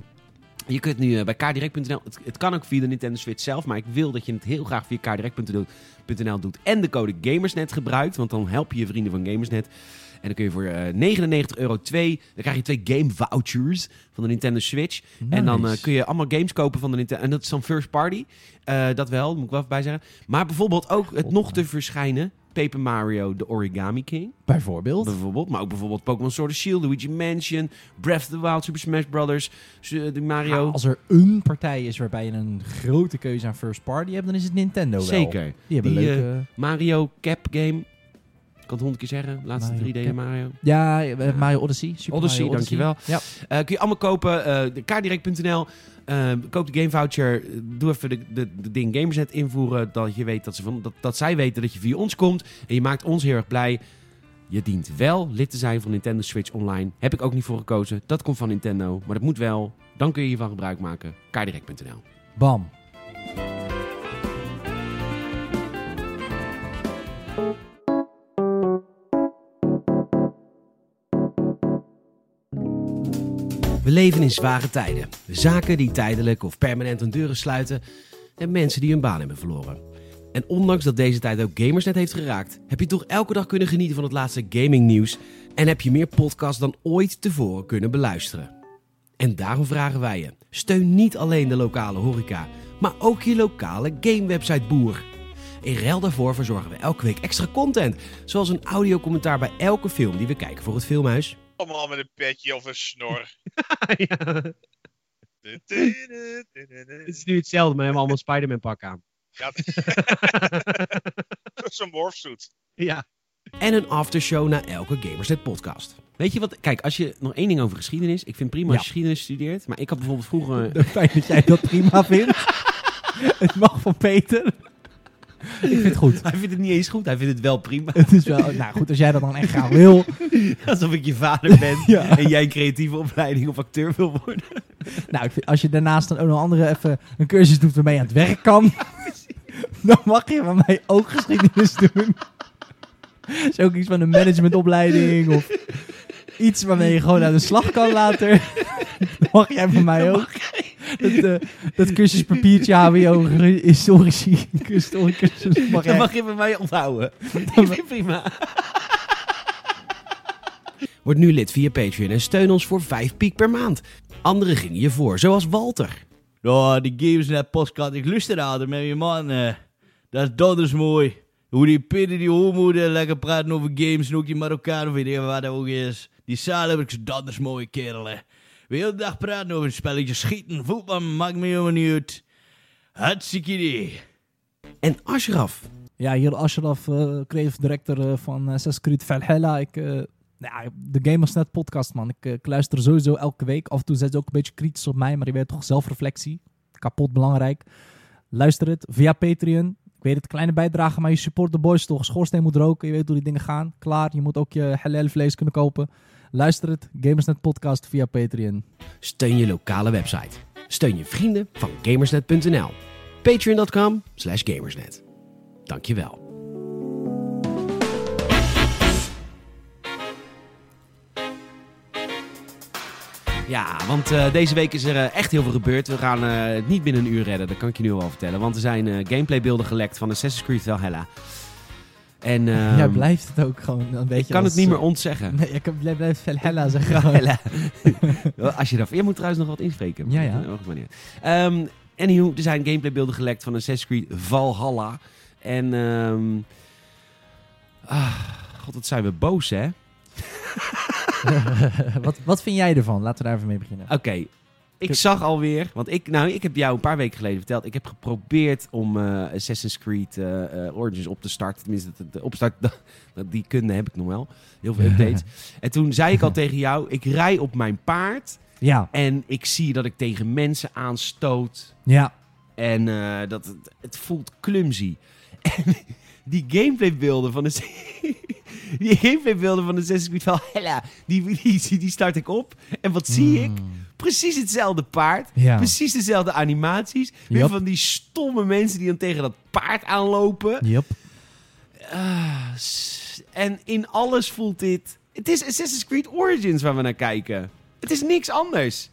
S1: je kunt nu eh, bij kaardirect.nl... Het, het kan ook via de Nintendo Switch zelf, maar ik wil dat je het heel graag via kaardirect.nl doet. En de code GamersNet gebruikt, want dan help je je vrienden van GamersNet. En dan kun je voor eh 99 euro 2, dan krijg je twee game vouchers van de Nintendo Switch. En dan eh, kun je allemaal games kopen van de Nintendo. En dat is dan first party. Eh, dat wel, moet ik wel even bij zeggen. Maar bijvoorbeeld ook het nog te verschijnen Paper Mario, The Origami King.
S2: Bijvoorbeeld.
S1: Bijvoorbeeld, maar ook bijvoorbeeld Pokémon Sword and Shield, Luigi Mansion, Breath of the Wild, Super Smash Brothers, de
S2: Ja,
S1: Mario.
S2: als er een partij is waarbij je een grote keuze aan first party hebt, dan is het Nintendo wel.
S1: Zeker.
S2: Die hebben
S1: Die, eh,
S2: leuke...
S1: Mario Cap Game. Ik kan het honderd keer zeggen. Laatste
S2: Mario
S1: 3D
S2: Cap.
S1: Mario.
S2: ja, we hebben Mario Odyssey. Super
S1: Odyssey,
S2: Mario Odyssey.
S1: dankjewel. Eh, kun je allemaal kopen. eh, de kaardirect.nl. Eh, koop de game voucher. Eh, Doe even de, de, de ding Gamerset invoeren. Dat, je weet dat, ze van, dat, dat zij weten dat je via ons komt. En je maakt ons heel erg blij. Je dient wel lid te zijn van Nintendo Switch Online. Heb ik ook niet voor gekozen. Dat komt van Nintendo, maar dat moet wel. Dan kun je hiervan gebruik maken. kaardirect.nl
S2: Bam.
S1: We leven in zware tijden. Zaken die tijdelijk of permanent hun deuren sluiten en mensen die hun baan hebben verloren. En ondanks dat deze tijd ook gamers net heeft geraakt, heb je toch elke dag kunnen genieten van het laatste gamingnieuws en heb je meer podcasts dan ooit tevoren kunnen beluisteren. En daarom vragen wij je: steun niet alleen de lokale horeca, maar ook je lokale gamewebsite Boer. In ruil daarvoor verzorgen we elke week extra content, zoals een audiocommentaar bij elke film die we kijken voor het filmhuis.
S3: Allemaal met een petje of een snor.
S1: Het is nu hetzelfde, maar hebben we allemaal Spider-Man pak aan.
S3: Ja, dat is een morfzoet.
S1: Ja. En een aftershow na elke Gamersnet podcast. Weet je wat? Kijk, als je nog één ding over geschiedenis. Ik vind prima als je
S2: Ja.
S1: geschiedenis studeert. Maar ik had bijvoorbeeld vroeger.
S2: Fijn dat jij dat prima vindt. het mag van Peter. Ik vind het goed.
S1: Hij vindt het niet eens goed. Hij vindt het wel prima.
S2: Het is wel, nou goed, als jij dat dan echt graag wil.
S1: Alsof ik je vader ben
S2: Ja.
S1: en jij een creatieve opleiding of acteur wil worden.
S2: Nou, ik vind, als je daarnaast dan ook nog andere even een cursus doet waarmee je aan het werk kan. dan mag je van mij ook geschiedenis doen. Is ook iets van een managementopleiding of iets waarmee je gewoon aan de slag kan later. Dat mag jij van mij ook. Dat, eh, dat cursuspapiertje HBO historici, historicus, dat mag
S1: Dat
S2: jij
S1: mag je bij mij onthouden. Ik vind het prima. Word nu lid via Patreon en steun ons voor 5 piek per maand. Anderen gingen je voor, zoals Walter.
S4: Ja, die games net podcast. Ik lust eraan met je man. eh. Dat, dat is mooi. Hoe die Peter, die homoeder lekker praten over games. En ook die Marokkaan of weet ik wat dat ook is. Die Salem, ik zeg, dat is mooi kerel. hè. We heel de dag praten over spelletjes, schieten, voetbal, maakt me helemaal niet uit. Hartstikke idee.
S1: En Ashraf.
S2: Ja, hier Ashraf, eh creative director eh, van Assassin's Creed Valhalla. Ik, eh, nou ja, de Gamersnet podcast, man. Ik, eh, ik luister sowieso elke week. Af en toe zijn ze ook een beetje kritisch op mij, maar je weet toch zelfreflectie. Kapot belangrijk. Luister het via Patreon. Ik weet het, kleine bijdrage, maar je support de boys toch. Schoorsteen moet roken, je weet hoe die dingen gaan. Klaar, je moet ook je halal vlees kunnen kopen. Luister het, Gamersnet podcast via Patreon.
S1: Steun je lokale website. Steun je vrienden van gamersnet.nl. Patreon.com slash gamersnet. Dankjewel. Ja, want eh, deze week is er eh, echt heel veel gebeurd. We gaan eh, het niet binnen een uur redden, dat kan ik je nu al vertellen. Want er zijn eh, gameplaybeelden gelekt van Assassin's Creed Valhalla. En ehm,
S2: Jij blijft het ook gewoon een beetje
S1: ik kan
S2: als- eh,
S1: het niet meer ontzeggen.
S2: Nee, ik blijf Valhalla zeggen.
S1: Grappig. Als je daarvoor... Je moet trouwens nog wat inspreken.
S2: Ja, ja.
S1: Op een manier. Ehm, anywho, er zijn gameplaybeelden gelekt van Assassin's Creed Valhalla. En... ehm, ah, God, wat zijn we boos, hè?
S2: wat, wat vind jij ervan? Laten we daar even mee beginnen.
S1: Oké. Ik zag alweer, want ik, nou, ik heb jou een paar weken geleden verteld. Ik heb geprobeerd om eh, Assassin's Creed eh, eh, Origins op te starten. Tenminste, de, de opstart, dat- die kunde heb ik nog wel. Heel veel updates. en toen zei ik al tegen jou, ik rij op mijn paard.
S2: Ja,
S1: En ik zie dat ik tegen mensen aanstoot.
S2: ja.
S1: En eh, dat het, het voelt clumsy. En die gameplaybeelden van de. Die gameplaybeelden van de Assassin's Creed Valhalla, die, die, die start ik op. En wat zie ik? Precies hetzelfde paard.
S2: Hmm. Ja.
S1: Precies dezelfde animaties. Weer
S2: Yep.
S1: van die stomme mensen die dan tegen dat paard aanlopen.
S2: Yep.
S1: Ah, s- en in alles voelt dit... Het is Assassin's Creed Origins waar we naar kijken. Het is niks anders.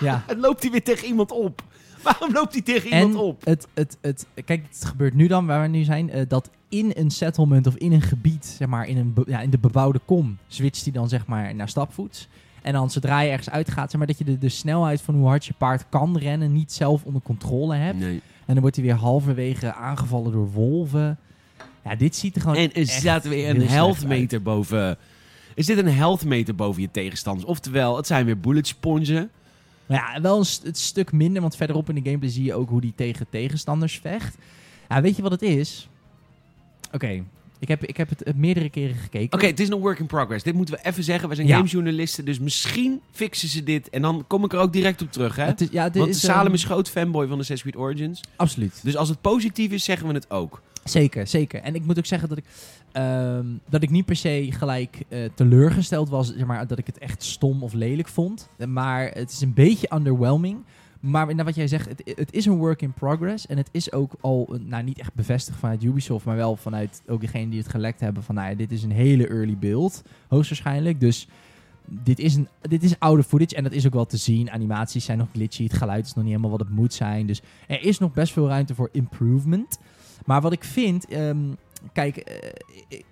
S2: Ja.
S1: Het loopt hij weer tegen iemand op. Waarom loopt hij tegen iemand
S2: En
S1: op?
S2: Het, het, het, kijk, het gebeurt nu dan, waar we nu zijn, eh, dat in een settlement of in een gebied, zeg maar, in, een be- ja, in de bebouwde kom, switcht hij dan zeg maar naar stapvoets. En dan zodra je ergens uitgaat, zeg maar, dat je de, de snelheid van hoe hard je paard kan rennen niet zelf onder controle hebt. En dan wordt hij weer halverwege aangevallen door wolven. Ja, dit ziet er gewoon
S1: En er
S2: echt
S1: staat weer een
S2: heel slecht
S1: health
S2: uit.
S1: meter boven... Er zit een health meter boven je tegenstanders. Oftewel, het zijn weer bullet spongen.
S2: Maar Ja, wel een st- het stuk minder, want verderop in de gameplay zie je ook hoe die tegen tegenstanders vecht. Ja, weet je wat het is? Oké, ik, heb, ik heb het eh, meerdere keren gekeken.
S1: Oké, het is nog work in progress. Dit moeten we even zeggen. Wij zijn
S2: Ja.
S1: gamejournalisten, dus misschien fixen ze dit. En dan kom ik er ook direct op terug, hè?
S2: Het is, ja, het
S1: Want
S2: is,
S1: Salem
S2: ehm,
S1: is groot fanboy van de Assassin's Creed Origins.
S2: Absoluut.
S1: Dus als het positief is, zeggen we het ook.
S2: Zeker, zeker. En ik moet ook zeggen dat ik, ehm, dat ik niet per se gelijk eh, teleurgesteld was, zeg maar, dat ik het echt stom of lelijk vond. Eh, Maar het is een beetje underwhelming. Maar naar wat jij zegt, het, het is een work in progress. En het is ook al, een- nou niet echt bevestigd vanuit Ubisoft, maar wel vanuit ook degene die het gelekt hebben van, nou ja, dit is een hele early build, hoogstwaarschijnlijk. Dus dit is, een, dit is oude footage en dat is ook wel te zien. Animaties zijn nog glitchy, het geluid is nog niet helemaal wat het moet zijn. Dus er is nog best veel ruimte voor improvement. Maar wat ik vind, ehm, kijk, eh, ik,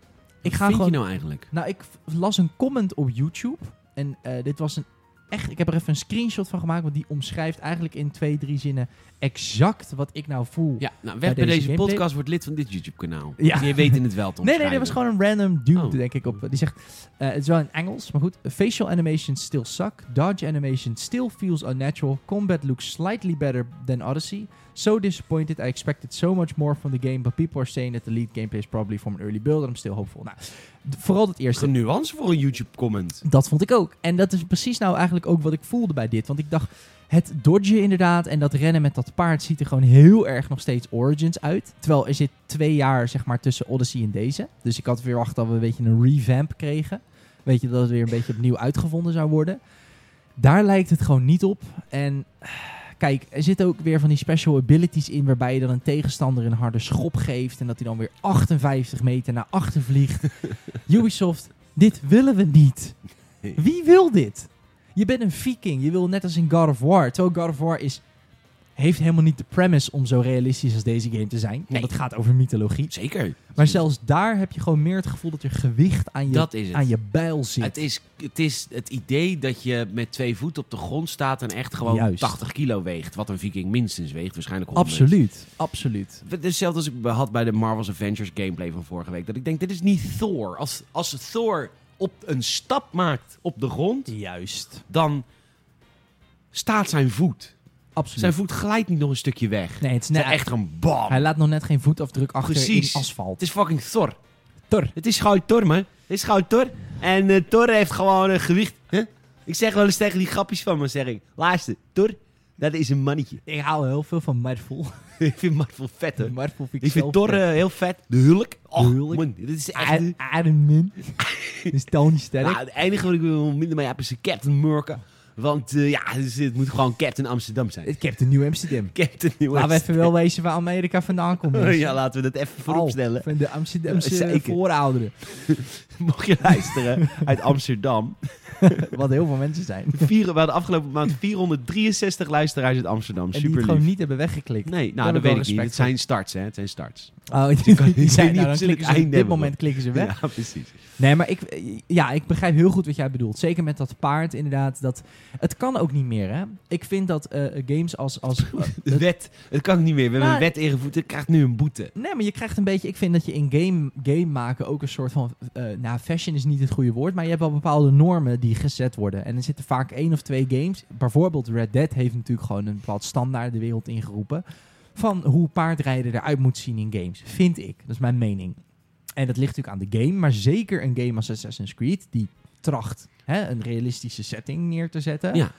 S2: ik ga
S1: vind
S2: gewoon.
S1: je nou eigenlijk?
S2: Nou, ik v- las een comment op YouTube. En eh, dit was een echt. Ik heb er even een screenshot van gemaakt. Want die omschrijft eigenlijk in twee, drie zinnen exact wat ik nou voel.
S1: Ja, nou, weg bij
S2: Bij deze
S1: deze
S2: gameplay-
S1: podcast, wordt lid van dit YouTube-kanaal.
S2: Ja.
S1: Je weet in het wel, Tom.
S2: Nee, nee, dat was gewoon een random dude,
S1: Oh.
S2: denk ik. Op. Die zegt, eh, het is wel in Engels, maar goed. Facial animations still suck. Dodge animation still feels unnatural. Combat looks slightly better than Odyssey. So disappointed. I expected so much more from the game. But people are saying that the lead gameplay is probably from an early build. And I'm still hopeful. Nou, d- vooral dat eerste.
S1: een nuance voor een YouTube-comment.
S2: Dat vond ik ook. En dat is precies nou eigenlijk ook wat ik voelde bij dit. Want ik dacht, het dodgen inderdaad en dat rennen met dat paard ziet er gewoon heel erg nog steeds Origins uit. Terwijl er zit twee jaar zeg maar tussen Odyssey en deze. Dus ik had weer wacht dat we een beetje een revamp kregen. Weet je, dat het weer een beetje opnieuw uitgevonden zou worden. Daar lijkt het gewoon niet op. En eh, kijk, er zitten ook weer van die special abilities in... waarbij je dan een tegenstander een harde schop geeft... en dat hij dan weer 58 meter naar achter vliegt. Ubisoft, dit willen we niet. Wie wil dit? Je bent een viking. Je wil net als in God of War. Terwijl God of War is, heeft helemaal niet de premise om zo realistisch als deze game te zijn. Want
S1: Nee.
S2: het gaat over mythologie.
S1: Zeker.
S2: Maar zelfs daar heb je gewoon meer het gevoel dat er gewicht aan je,
S1: Dat is het.
S2: aan je bijl zit.
S1: Het is, het is het idee dat je met twee voeten op de grond staat en echt gewoon
S2: Juist.
S1: 80 kilo weegt. Wat een viking minstens weegt, waarschijnlijk 100.
S2: absoluut, absoluut.
S1: Het is Hetzelfde als ik had bij de Marvel's Avengers gameplay van vorige week. Dat ik denk, dit is niet Thor. Als, als Thor op een stap maakt op de grond,
S2: Juist.
S1: dan staat zijn voet. Zijn
S2: Absoluut.
S1: voet glijdt niet nog een stukje weg.
S2: Nee, het is
S1: Het
S2: net,
S1: is echt een bam.
S2: hij laat nog net geen voetafdruk achter
S1: Precies.
S2: in
S1: Het
S2: asfalt.
S1: is fucking Thor.
S2: Thor.
S1: Het is gewoon Thor, man. Het is gewoon Thor. En eh, Thor heeft gewoon een gewicht. Huh? Ik zeg wel eens tegen die grapjes van me, zeg ik. Luister, Thor, dat is een mannetje.
S2: Ik hou heel veel van Marvel.
S1: ik vind Marvel vet, hoor.
S2: Marvel vind ik,
S1: Ik vind
S2: zelf
S1: Thor
S2: vet.
S1: eh, heel vet. De Hulk. Och,
S2: De Hulk.
S1: man. Dit is echt...
S2: Ad- Iron Man. is Tony Sterk.
S1: Nou, het enige wat ik wil minder mee heb is een Captain Murken. Want eh, ja, dus het moet gewoon Captain Amsterdam zijn.
S2: Ik heb de Nieuw Amsterdam.
S1: Captain New
S2: Laten we even wel wezen waar Amerika vandaan komt. mensen.
S1: Ja, laten we dat even vooropstellen.
S2: Al, Van de Amsterdamse
S1: Zeker.
S2: voorouderen.
S1: Mocht je luisteren uit Amsterdam.
S2: Wat heel veel mensen zijn.
S1: Vier, we hadden afgelopen maand 463 luisteraars uit Amsterdam.
S2: En die
S1: Super
S2: het gewoon niet hebben weggeklikt.
S1: Nee,
S2: Daar
S1: nou
S2: heb
S1: dat
S2: ik wel
S1: weet ik niet.
S2: respect
S1: Het zijn starts, hè. Het zijn starts.
S2: Oh, die, die,
S1: weet
S2: zijn,
S1: niet of
S2: nou, dan
S1: ze het
S2: klikken ze op
S1: einde
S2: dit
S1: hebben,
S2: moment klikken ze weg.
S1: Ja, precies.
S2: Nee, maar ik, ja, ik begrijp heel goed wat jij bedoelt. Zeker met dat paard inderdaad. Dat, het kan ook niet meer, hè. Ik vind dat eh, games als... als
S1: De wet, dat kan ik niet meer. We hebben
S2: Maar-
S1: een wet ingevoerd. Ik krijg nu een boete.
S2: Nee, maar je krijgt een beetje. Ik vind dat je in game, game maken ook een soort van. eh nou, fashion is niet het goede woord. Maar je hebt wel bepaalde normen die gezet worden. En er zitten vaak één of twee games. Bijvoorbeeld Red Dead heeft natuurlijk gewoon een bepaald standaard de wereld ingeroepen. Van hoe paardrijden eruit moet zien in games. Vind ik. Dat is mijn mening. En dat ligt natuurlijk aan de game. Maar zeker een game als Assassin's Creed. Die tracht hè, een realistische setting neer te zetten.
S1: Ja.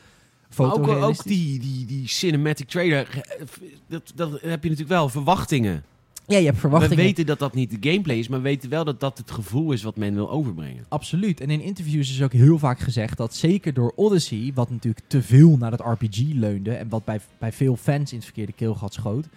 S1: Maar ook,
S2: Fotorealistisch.
S1: ook die, die, die cinematic trailer, eh, dat, dat heb je natuurlijk wel, verwachtingen.
S2: Ja, je hebt verwachtingen.
S1: We weten dat dat niet de gameplay is, maar we weten wel dat dat het gevoel is wat men wil overbrengen.
S2: Absoluut. En in interviews is ook heel vaak gezegd dat zeker door Odyssey, wat natuurlijk te veel naar het RPG leunde en wat bij, bij veel fans in het verkeerde keelgat schoot.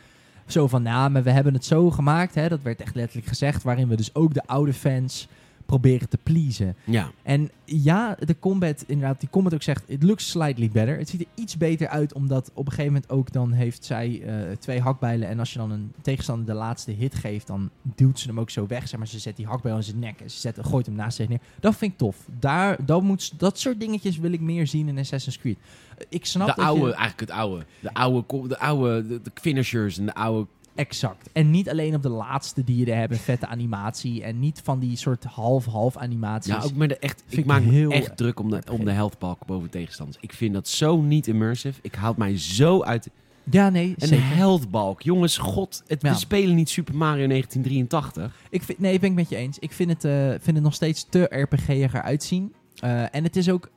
S2: Zo van, nou, maar we hebben het zo gemaakt, hè, dat werd echt letterlijk gezegd, waarin we dus ook de oude fans proberen te pleasen.
S1: Ja,
S2: En ja, de combat, inderdaad, die combat ook zegt, it looks slightly better. Het ziet er iets beter uit, omdat op een gegeven moment ook dan heeft zij eh, twee hakbijlen. En als je dan een tegenstander de laatste hit geeft, dan duwt ze hem ook zo weg. Zeg maar, ze zet die hakbijl in zijn nek en ze zet, gooit hem naast zich neer. Dat vind ik tof. Daar, dat, moet, dat soort dingetjes wil ik meer zien in Assassin's Creed. Eh, Ik snap
S1: de
S2: dat je-
S1: oude, eigenlijk het oude. De oude, ko- de oude de, de finishers en de oude...
S2: Exact. En niet alleen op de laatste die je er hebt, een vette animatie. En niet van die soort half-half animaties.
S1: Ja, ook met de echt,
S2: Dus Vind
S1: ik
S2: ik
S1: maak me
S2: heel
S1: echt druk om de, om de helftbalk boven tegenstanders. Ik vind dat zo niet immersive. Ik haal mij zo uit...
S2: Ja, nee,
S1: Een
S2: zeker.
S1: heldbalk. Jongens, god, het,
S2: Ja.
S1: we spelen niet Super Mario 1983.
S2: Ik vind, nee, ben ik met je eens. Ik vind het, eh, vind het nog steeds te RPG'er uitzien. Eh, en het is ook...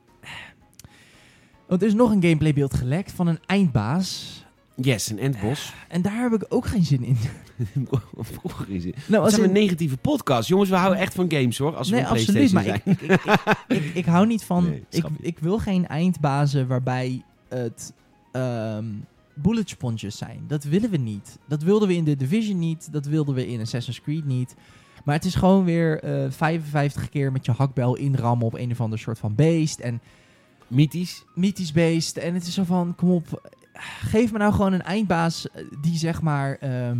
S2: Want er is nog een gameplaybeeld gelekt van een eindbaas.
S1: Yes, een Endbos.
S2: En daar heb ik ook geen zin in.
S1: Vroeger is het.
S2: Nou,
S1: Dat
S2: als
S1: zijn een
S2: in-
S1: negatieve podcast. Jongens, we houden echt van games hoor. Als we
S2: nee,
S1: een
S2: absoluut.
S1: PlayStation
S2: Maar
S1: zijn.
S2: ik, ik, ik, ik, ik hou niet van.
S1: Nee,
S2: ik,
S1: snap ik.
S2: ik wil geen eindbazen waarbij het ehm bullet sponges zijn. Dat willen we niet. Dat wilden we in The Division niet. Dat wilden we in Assassin's Creed niet. Maar het is gewoon weer eh, 55 keer met je hakbel inrammen op een of ander soort van beest. En
S1: Mythisch.
S2: mythisch beest. En het is zo van, kom op, geef me nou gewoon een eindbaas eh, die zeg maar ehm,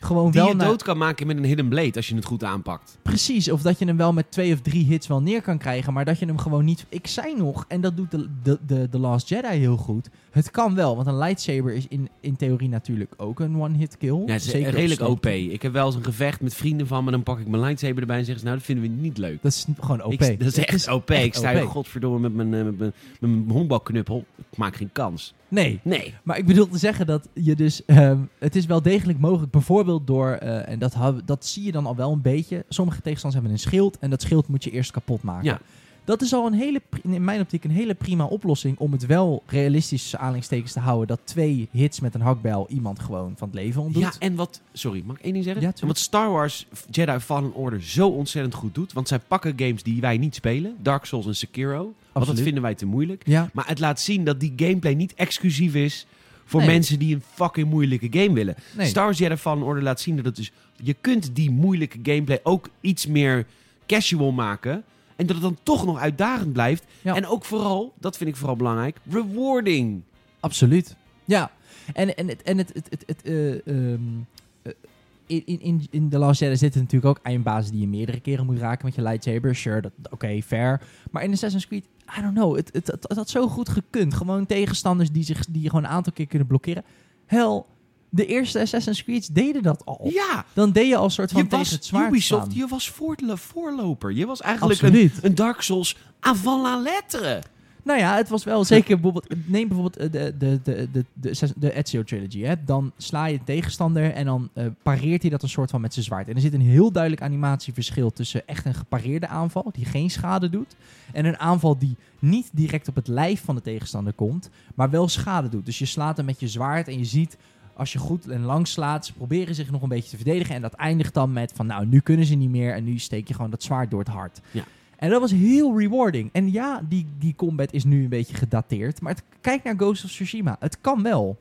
S2: gewoon
S1: Die
S2: wel
S1: je
S2: na-
S1: dood kan maken met een hidden blade als je het goed aanpakt.
S2: Precies, of dat je hem wel met twee of drie hits wel neer kan krijgen, maar dat je hem gewoon niet... Ik zei nog, en dat doet de, de, de, de Last Jedi heel goed, het kan wel, want een lightsaber is in, in theorie natuurlijk ook een one-hit kill.
S1: Ja, het is
S2: Zeker op
S1: redelijk
S2: stok.
S1: OP. Ik heb wel eens een gevecht met vrienden van me. Dan pak ik mijn lightsaber erbij en zeggen ze... Nou, dat vinden we niet leuk.
S2: Dat is gewoon OP.
S1: Ik- dat is echt OP. ik sta hier
S2: OP.
S1: godverdomme met mijn, eh, met mijn, met mijn honkbalknuppel. Ik maak geen kans.
S2: Nee,
S1: Nee.
S2: Maar ik bedoel te zeggen dat je dus. ehm, het is wel degelijk mogelijk. Bijvoorbeeld door. eh, en dat, hou- dat zie je dan al wel een beetje. Sommige tegenstanders hebben een schild. En dat schild moet je eerst kapot maken.
S1: Ja.
S2: Dat is al een hele, pri- in mijn optiek een hele prima oplossing. om het wel realistisch tussen aanhalingstekens te houden. dat twee hits met een hakbijl iemand gewoon van het leven ontdoet.
S1: Ja, en wat... Sorry, mag ik één ding zeggen?
S2: Ja,
S1: en
S2: tuurlijk.
S1: wat Star Wars Jedi Fallen Order zo ontzettend goed doet... Want zij pakken games die wij niet spelen. Dark Souls en Sekiro. Want dat
S2: Absoluut.
S1: vinden wij te moeilijk.
S2: Ja.
S1: Maar het laat zien dat die gameplay niet exclusief is... voor
S2: Nee.
S1: mensen die een fucking moeilijke game willen.
S2: Nee.
S1: Star Wars Jedi Fallen Order laat zien dat het dus... Je kunt die moeilijke gameplay ook iets meer casual maken. En dat het dan toch nog uitdagend blijft.
S2: Ja.
S1: En ook vooral, dat vind ik vooral belangrijk, rewarding.
S2: Absoluut. Ja. En, en, het, en het, het, het, het, eh, ehm, eh, in, in- in, in The Last Jedi zitten natuurlijk ook eindbazen die je meerdere keren moet raken met je lightsaber. Sure, dat- oké, fair. Maar in Assassin's Creed, I don't know, het, het, het, het had zo goed gekund. Gewoon tegenstanders die, zich, die je gewoon een aantal keer kunnen blokkeren. Hel, de eerste Assassin's Creeds deden dat al.
S1: Ja,
S2: Dan deed je al soort van
S1: je
S2: tegen
S1: was
S2: het zwaard
S1: Ubisoft,
S2: staan.
S1: je was voortlo- voorloper. Je was eigenlijk een,
S2: Absoluut.
S1: een Dark Souls avant la lettre.
S2: Nou ja, het was wel zeker bijvoorbeeld. Neem bijvoorbeeld eh, de, de, de, de, de, de Ezio Trilogy. Hè? Dan sla je een tegenstander en dan eh, pareert hij dat een soort van met zijn zwaard. En er zit een heel duidelijk animatieverschil tussen echt een gepareerde aanval, die geen schade doet. En een aanval die niet direct op het lijf van de tegenstander komt, maar wel schade doet. Dus je slaat hem met je zwaard en je ziet. Als je goed en lang slaat, ze proberen zich nog een beetje te verdedigen. En dat eindigt dan met van nou, nu kunnen ze niet meer. En nu steek je gewoon dat zwaard door het hart. En dat was heel rewarding. En ja, die, die combat is nu een beetje gedateerd. Maar het, kijk naar Ghost of Tsushima. Het kan wel.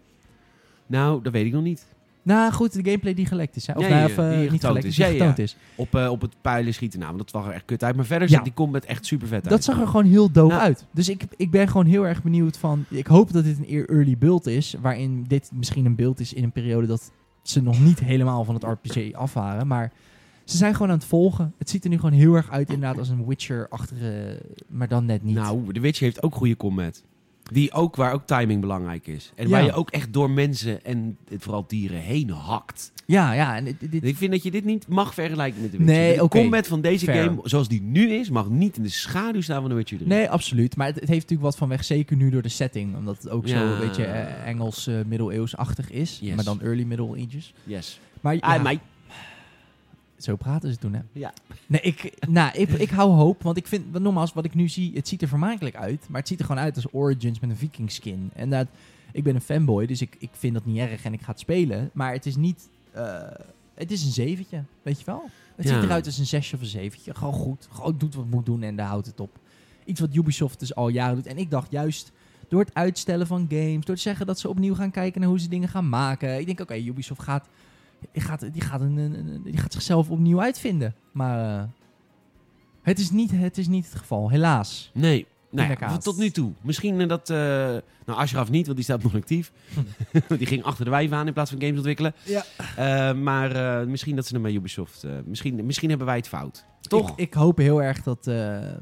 S1: Nou, dat weet ik nog niet.
S2: Nou goed, de gameplay die gelekt is. Hè? Of
S1: Ja,
S2: nou,
S1: ja,
S2: of, eh,
S1: die
S2: niet
S1: getoond
S2: gelekt
S1: is.
S2: is, die
S1: Ja, ja,
S2: getoond
S1: ja.
S2: is.
S1: Op, eh, op het puilen schieten, nou, want dat zag er echt kut uit. Maar verder
S2: Ja.
S1: zag die combat echt super vet
S2: Dat
S1: uit.
S2: zag er gewoon heel dope
S1: Nou.
S2: uit. Dus ik, ik ben gewoon heel erg benieuwd van... Ik hoop dat dit een eer- early build is. Waarin dit misschien een beeld is in een periode dat ze nog niet helemaal van het RPG af waren. Maar ze zijn gewoon aan het volgen. Het ziet er nu gewoon heel erg uit inderdaad als een Witcher-achtige... Maar dan net niet.
S1: Nou, The Witcher heeft ook goede combat. Die ook, waar ook timing belangrijk is. En
S2: Ja.
S1: waar je ook echt door mensen en eh, vooral dieren heen hakt.
S2: Ja, ja. En dit, dit-
S1: Ik vind dat je dit niet mag vergelijken met The Witcher.
S2: Nee,
S1: de
S2: oké.
S1: combat van deze
S2: Fair.
S1: game, zoals die nu is, mag niet in de schaduw staan van The Witcher 3.
S2: Nee, absoluut. Maar het, het heeft natuurlijk wat van weg, zeker nu door de setting. Omdat het ook zo
S1: Ja.
S2: een beetje eh, Engels eh, middeleeuwsachtig is.
S1: Yes.
S2: Maar dan early middle ages.
S1: Yes.
S2: Maar
S1: Ah,
S2: ja,
S1: mij-
S2: zo praten ze toen, hè?
S1: Ja.
S2: Nee, ik, nou, ik, ik hou hoop. Want ik vind, want nogmaals, wat ik nu zie, het ziet er vermakelijk uit. Maar het ziet er gewoon uit als Origins met een viking skin. En dat, ik ben een fanboy, dus ik, ik vind dat niet erg en ik ga het spelen. Maar het is niet... eh, het is een zeventje, weet je wel? Het
S1: Ja.
S2: ziet eruit als een zesje of een zeventje. Gewoon goed. Gewoon doet wat moet doen en daar houdt het op. Iets wat Ubisoft dus al jaren doet. En ik dacht juist door het uitstellen van games, door te zeggen dat ze opnieuw gaan kijken naar hoe ze dingen gaan maken. Ik denk, oké, Ubisoft gaat, die gaat, die, gaat een, een- een- die gaat zichzelf opnieuw uitvinden. Maar eh, het, is niet, het is niet het geval, helaas.
S1: Nee. Nou ja,
S2: Pindakaas.
S1: tot nu toe. Misschien eh, dat... eh nou, Ashraf niet, want die staat nog actief. die ging achter de wijven aan in plaats van games ontwikkelen.
S2: Ja.
S1: Eh, maar eh, misschien dat ze hem bij Ubisoft... eh, misschien, misschien hebben wij het fout. Toch?
S2: Ik, ik hoop heel erg dat... eh,
S1: Wat is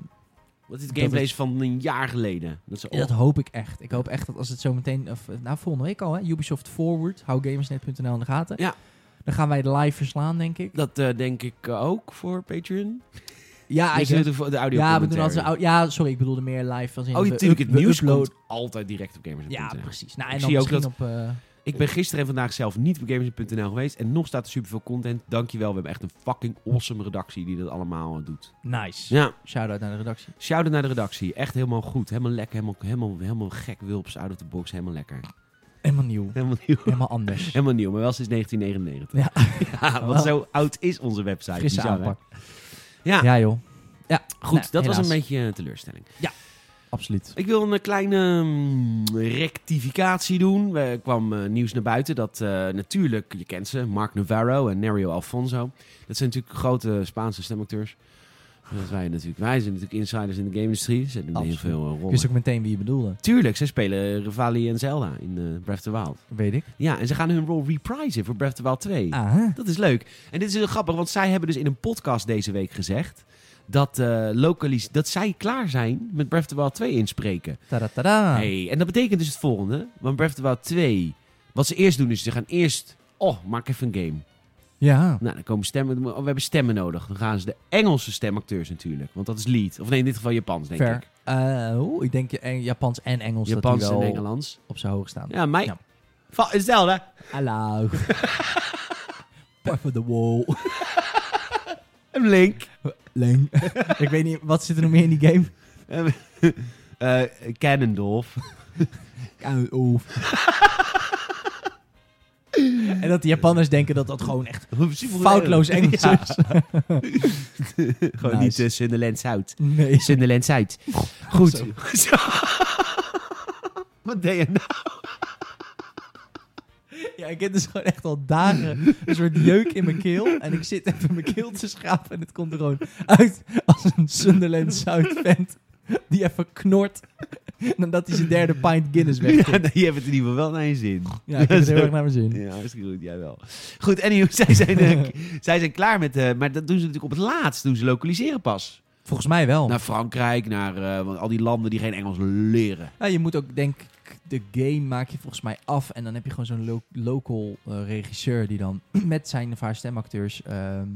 S2: dat
S1: het gameplay
S2: het-
S1: is van een jaar geleden. Dat ze,
S2: Ja, Dat hoop ik echt. Ik hoop echt dat als het zo meteen... Of, eh, nou, volgende week al, hè. Ubisoft Forward. Hou gamersnet.nl in de gaten.
S1: Ja.
S2: Dan gaan wij de live verslaan, denk ik.
S1: dat eh, denk ik eh, ook voor Patreon.
S2: Ja,
S1: Nee, ze doen het voor de audio
S2: Ah, Dus ja, we doen
S1: commentary.
S2: altijd een au- ja, sorry, ik bedoelde meer live. Als in
S1: Oh,
S2: we
S1: natuurlijk.
S2: up-
S1: Het
S2: we
S1: nieuws
S2: uploaden.
S1: komt altijd direct op gamers.nl.
S2: Ja, precies. Nou, en
S1: Ik
S2: dan
S1: zie ook
S2: misschien op... eh,
S1: Ik ben gisteren en vandaag zelf niet op gamers.nl geweest. En nog staat er superveel content. Dankjewel. We hebben echt een fucking awesome redactie die dat allemaal eh, doet.
S2: nice.
S1: Ja.
S2: Shout-out naar de redactie.
S1: Shout-out naar de redactie. Echt helemaal goed. Helemaal lekker. Helemaal, helemaal, helemaal gek. Wulps out of the box. Helemaal lekker.
S2: Helemaal nieuw.
S1: Helemaal nieuw.
S2: Helemaal anders.
S1: Helemaal nieuw, maar wel sinds 1999.
S2: Ja,
S1: Ja, want zo oud is onze website.
S2: frisse
S1: Bizar, hè?
S2: aanpak.
S1: Ja,
S2: Ja, joh. Ja,
S1: goed.
S2: nou,
S1: dat was
S2: helaas.
S1: een beetje een teleurstelling.
S2: Absoluut.
S1: Ik wil een eh, kleine mm, rectificatie doen. Er kwam eh, nieuws naar buiten dat eh, natuurlijk, je kent ze, Mark Navarro en Nerio Alfonso. Dat zijn natuurlijk grote Spaanse stemacteurs. Dat wij, natuurlijk, wij zijn natuurlijk insiders in de game-industrie. Ze doen heel
S2: Absoluut.
S1: veel eh,
S2: Ik
S1: rollen.
S2: wist ook meteen wie je bedoelde.
S1: Tuurlijk, ze spelen Rivali en Zelda in eh, Breath of the Wild.
S2: Weet ik.
S1: Ja, en ze gaan hun rol reprisen voor Breath of the Wild 2.
S2: Ah, hè?
S1: Dat is leuk. En dit is heel grappig, want zij hebben dus in een podcast deze week gezegd... dat, eh, localis- dat zij klaar zijn met Breath of the Wild 2 inspreken.
S2: Tada, tada.
S1: Hey, en dat betekent dus het volgende. Want Breath of the Wild 2, wat ze eerst doen is ze gaan eerst... Oh, maak even een game.
S2: Ja.
S1: Nou, dan komen stemmen... oh, we hebben stemmen nodig. Dan gaan ze de Engelse stemacteurs natuurlijk. Want dat is lead. Of nee, in dit geval Japans, denk
S2: Ver.
S1: ik.
S2: Eh, oeh, ik denk je- en Japans en Engels
S1: Japans
S2: dat
S1: en
S2: die wel
S1: Engelands.
S2: op zijn hoog staan.
S1: Ja, mij...
S2: Ja.
S1: Va- Zelda.
S2: Hallo. Puff of the wall.
S1: Een link.
S2: Leng. ik weet niet, wat zit er nog meer in die game?
S1: Eh, eh, Cannondorf.
S2: Uit- Oef. en dat de Japanners denken dat dat gewoon echt foutloos Engels
S1: Ja.
S2: is.
S1: Gewoon
S2: Nice.
S1: niet uh, Sunderland Zuid.
S2: Nee.
S1: Sunderland Zuid. Goed.
S2: Zo.
S1: Zo. Wat deed je nou?
S2: Ja, ik heb dus gewoon echt al dagen een soort jeuk in mijn keel. En ik zit even mijn keel te schrapen en het komt er gewoon uit als een Sunderland Zuid vent. Die even knort nadat hij zijn derde pint Guinness wegtikt.
S1: Ja, nee, je hebt het in ieder geval wel naar je zin.
S2: Ja, ik heb het
S1: Zo.
S2: heel erg naar mijn zin.
S1: Ja, hartstikke goed. Jij wel. Goed, anyway, zij zijn, eh, k- zij zijn klaar met... eh, maar dat doen ze natuurlijk op het laatst. Doen ze lokaliseren pas.
S2: Volgens mij wel.
S1: Naar Frankrijk, naar eh, want al die landen die geen Engels leren.
S2: Ja, je moet ook, denk ik, de game maak je volgens mij af. En dan heb je gewoon zo'n lo- local eh, regisseur die dan met zijn of haar stemacteurs ehm,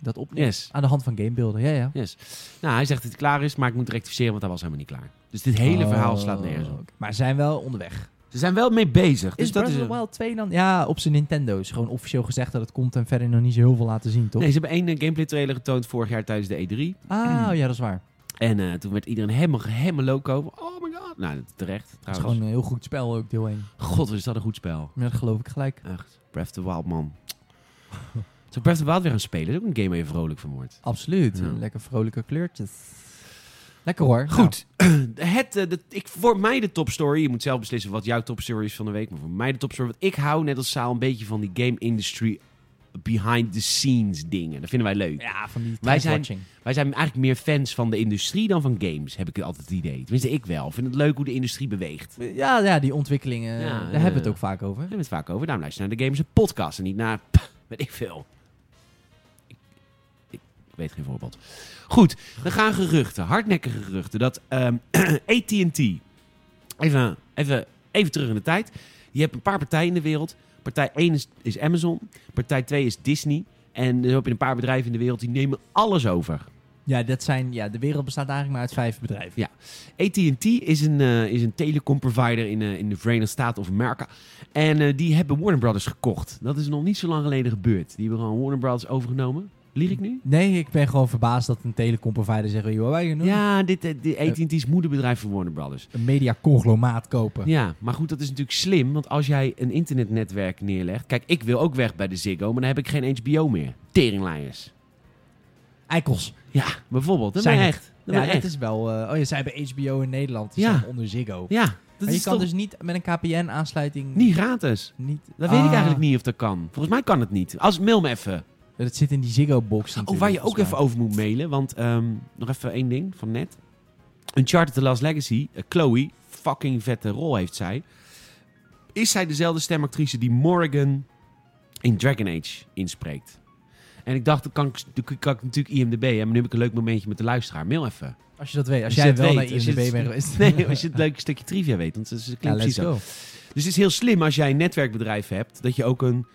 S2: dat opneemt.
S1: Yes.
S2: Aan de hand van gamebeelden, ja, ja.
S1: Yes. Nou, hij zegt dat het klaar is, maar ik moet rectificeren, want hij was helemaal niet klaar. Dus dit hele
S2: Oh,
S1: verhaal slaat nergens op.
S2: oké. Maar ze zijn wel onderweg.
S1: Ze zijn wel mee bezig. Dus
S2: is
S1: dat
S2: Breath
S1: is
S2: of the Wild 2 dan? Ja, op zijn Nintendo's. Gewoon officieel gezegd dat het komt en verder nog niet zo heel veel laten zien, toch?
S1: Nee, ze hebben één eh, gameplay trailer getoond vorig jaar tijdens de E3.
S2: Ah, ja, dat is waar.
S1: En eh, toen werd iedereen helemaal, helemaal loco. Oh my god. Nou, terecht
S2: Het is
S1: trouwens.
S2: gewoon een heel goed spel ook, deel 1.
S1: God, wat is dat een goed spel.
S2: Ja, dat geloof ik gelijk.
S1: Echt. Breath of the Wild, man. Zou ik Breath of the Wild weer gaan spelen? Dat is ook een game waar je vrolijk van wordt.
S2: Absoluut.
S1: Ja.
S2: Lekker vrolijke kleurtjes. Lekker hoor.
S1: Goed. Het, eh, de, ik, voor mij de topstory. Je moet zelf beslissen wat jouw topstory is van de week. Maar voor mij de topstory. Want ik hou, net als Saal, een beetje van die game industry behind the scenes dingen. Dat vinden wij leuk.
S2: Nou, ja, van die
S1: Wij zijn-
S2: watching.
S1: Wij zijn eigenlijk meer fans van de industrie dan van games, heb ik altijd het idee. Tenminste, ik wel. Ik vind het leuk hoe de industrie beweegt. We
S2: Ja, ja, die ontwikkelingen,
S1: Ja,
S2: daar
S1: ja,
S2: hebben we het
S1: ja.
S2: ook vaak over.
S1: hebben het vaak over. Daarom luister je naar de Gamers een podcast en niet naar, pff, weet ik veel. Ik, ik weet geen voorbeeld. Goed, dan gaan geruchten, hardnekkige geruchten, dat ehm, AT&T, even, even, even terug in de tijd. Je hebt een paar partijen in de wereld. Partij 1 is, is Amazon, partij 2 is Disney. En zo heb je een paar bedrijven in de wereld die nemen alles over.
S2: Ja, dat zijn, ja, de wereld bestaat eigenlijk maar uit vijf bedrijven.
S1: AT&T is een, eh, is een telecomprovider in, eh, in de Verenigde Staten of Amerika. En eh, die hebben Warner Brothers gekocht. Dat is nog niet zo lang geleden gebeurd. Die hebben gewoon Warner Brothers overgenomen. Lieg ik nu?
S2: Nee, ik ben gewoon verbaasd dat een telecomprovider zegt, joh, wij gaan doen
S1: Ja, dit, eh, dit AT&T is moederbedrijf van Warner Brothers.
S2: een mediaconglomeraat kopen.
S1: Ja, maar goed, dat is natuurlijk slim. Want als jij een internetnetwerk neerlegt... Kijk, ik wil ook weg bij de Ziggo, maar dan heb ik geen HBO meer. Teringlijers.
S2: Eikels.
S1: Ja, bijvoorbeeld. Dat
S2: Zijn
S1: ben je
S2: het.
S1: echt. Dat ben
S2: ja,
S1: je
S2: dat
S1: echt.
S2: is wel... eh, oh ja, zij hebben HBO in Nederland. Die
S1: Ja.
S2: staan onder Ziggo.
S1: Ja, dat
S2: maar je
S1: is
S2: kan
S1: toch
S2: dus niet met een KPN-aansluiting...
S1: niet gratis.
S2: niet
S1: Dat weet ik
S2: Ah,
S1: eigenlijk niet of dat kan. Volgens mij kan het niet. Als, mail me even.
S2: Dat zit in die Ziggo-box
S1: Oh, waar je ook even over moet mailen. Want ehm, nog even één ding van net. Uncharted The Last Legacy. eh, Chloe, fucking vette rol heeft zij. Is zij dezelfde stemactrice die Morgan in Dragon Age inspreekt? En ik dacht, dan kan ik, dan kan ik natuurlijk IMDB. Hè, maar nu heb ik een leuk momentje met de luisteraar. Mail even.
S2: Als je dat weet. Als
S1: je
S2: jij
S1: dat
S2: wel naar
S1: weet, als je
S2: IMDb
S1: het-
S2: bent geweest.
S1: Nee, als je het leuke stukje trivia weet. Want ze ze
S2: Ja,
S1: klinkt
S2: let's
S1: precies zo.
S2: go.
S1: Dus het is heel slim als jij een netwerkbedrijf hebt. Dat je ook een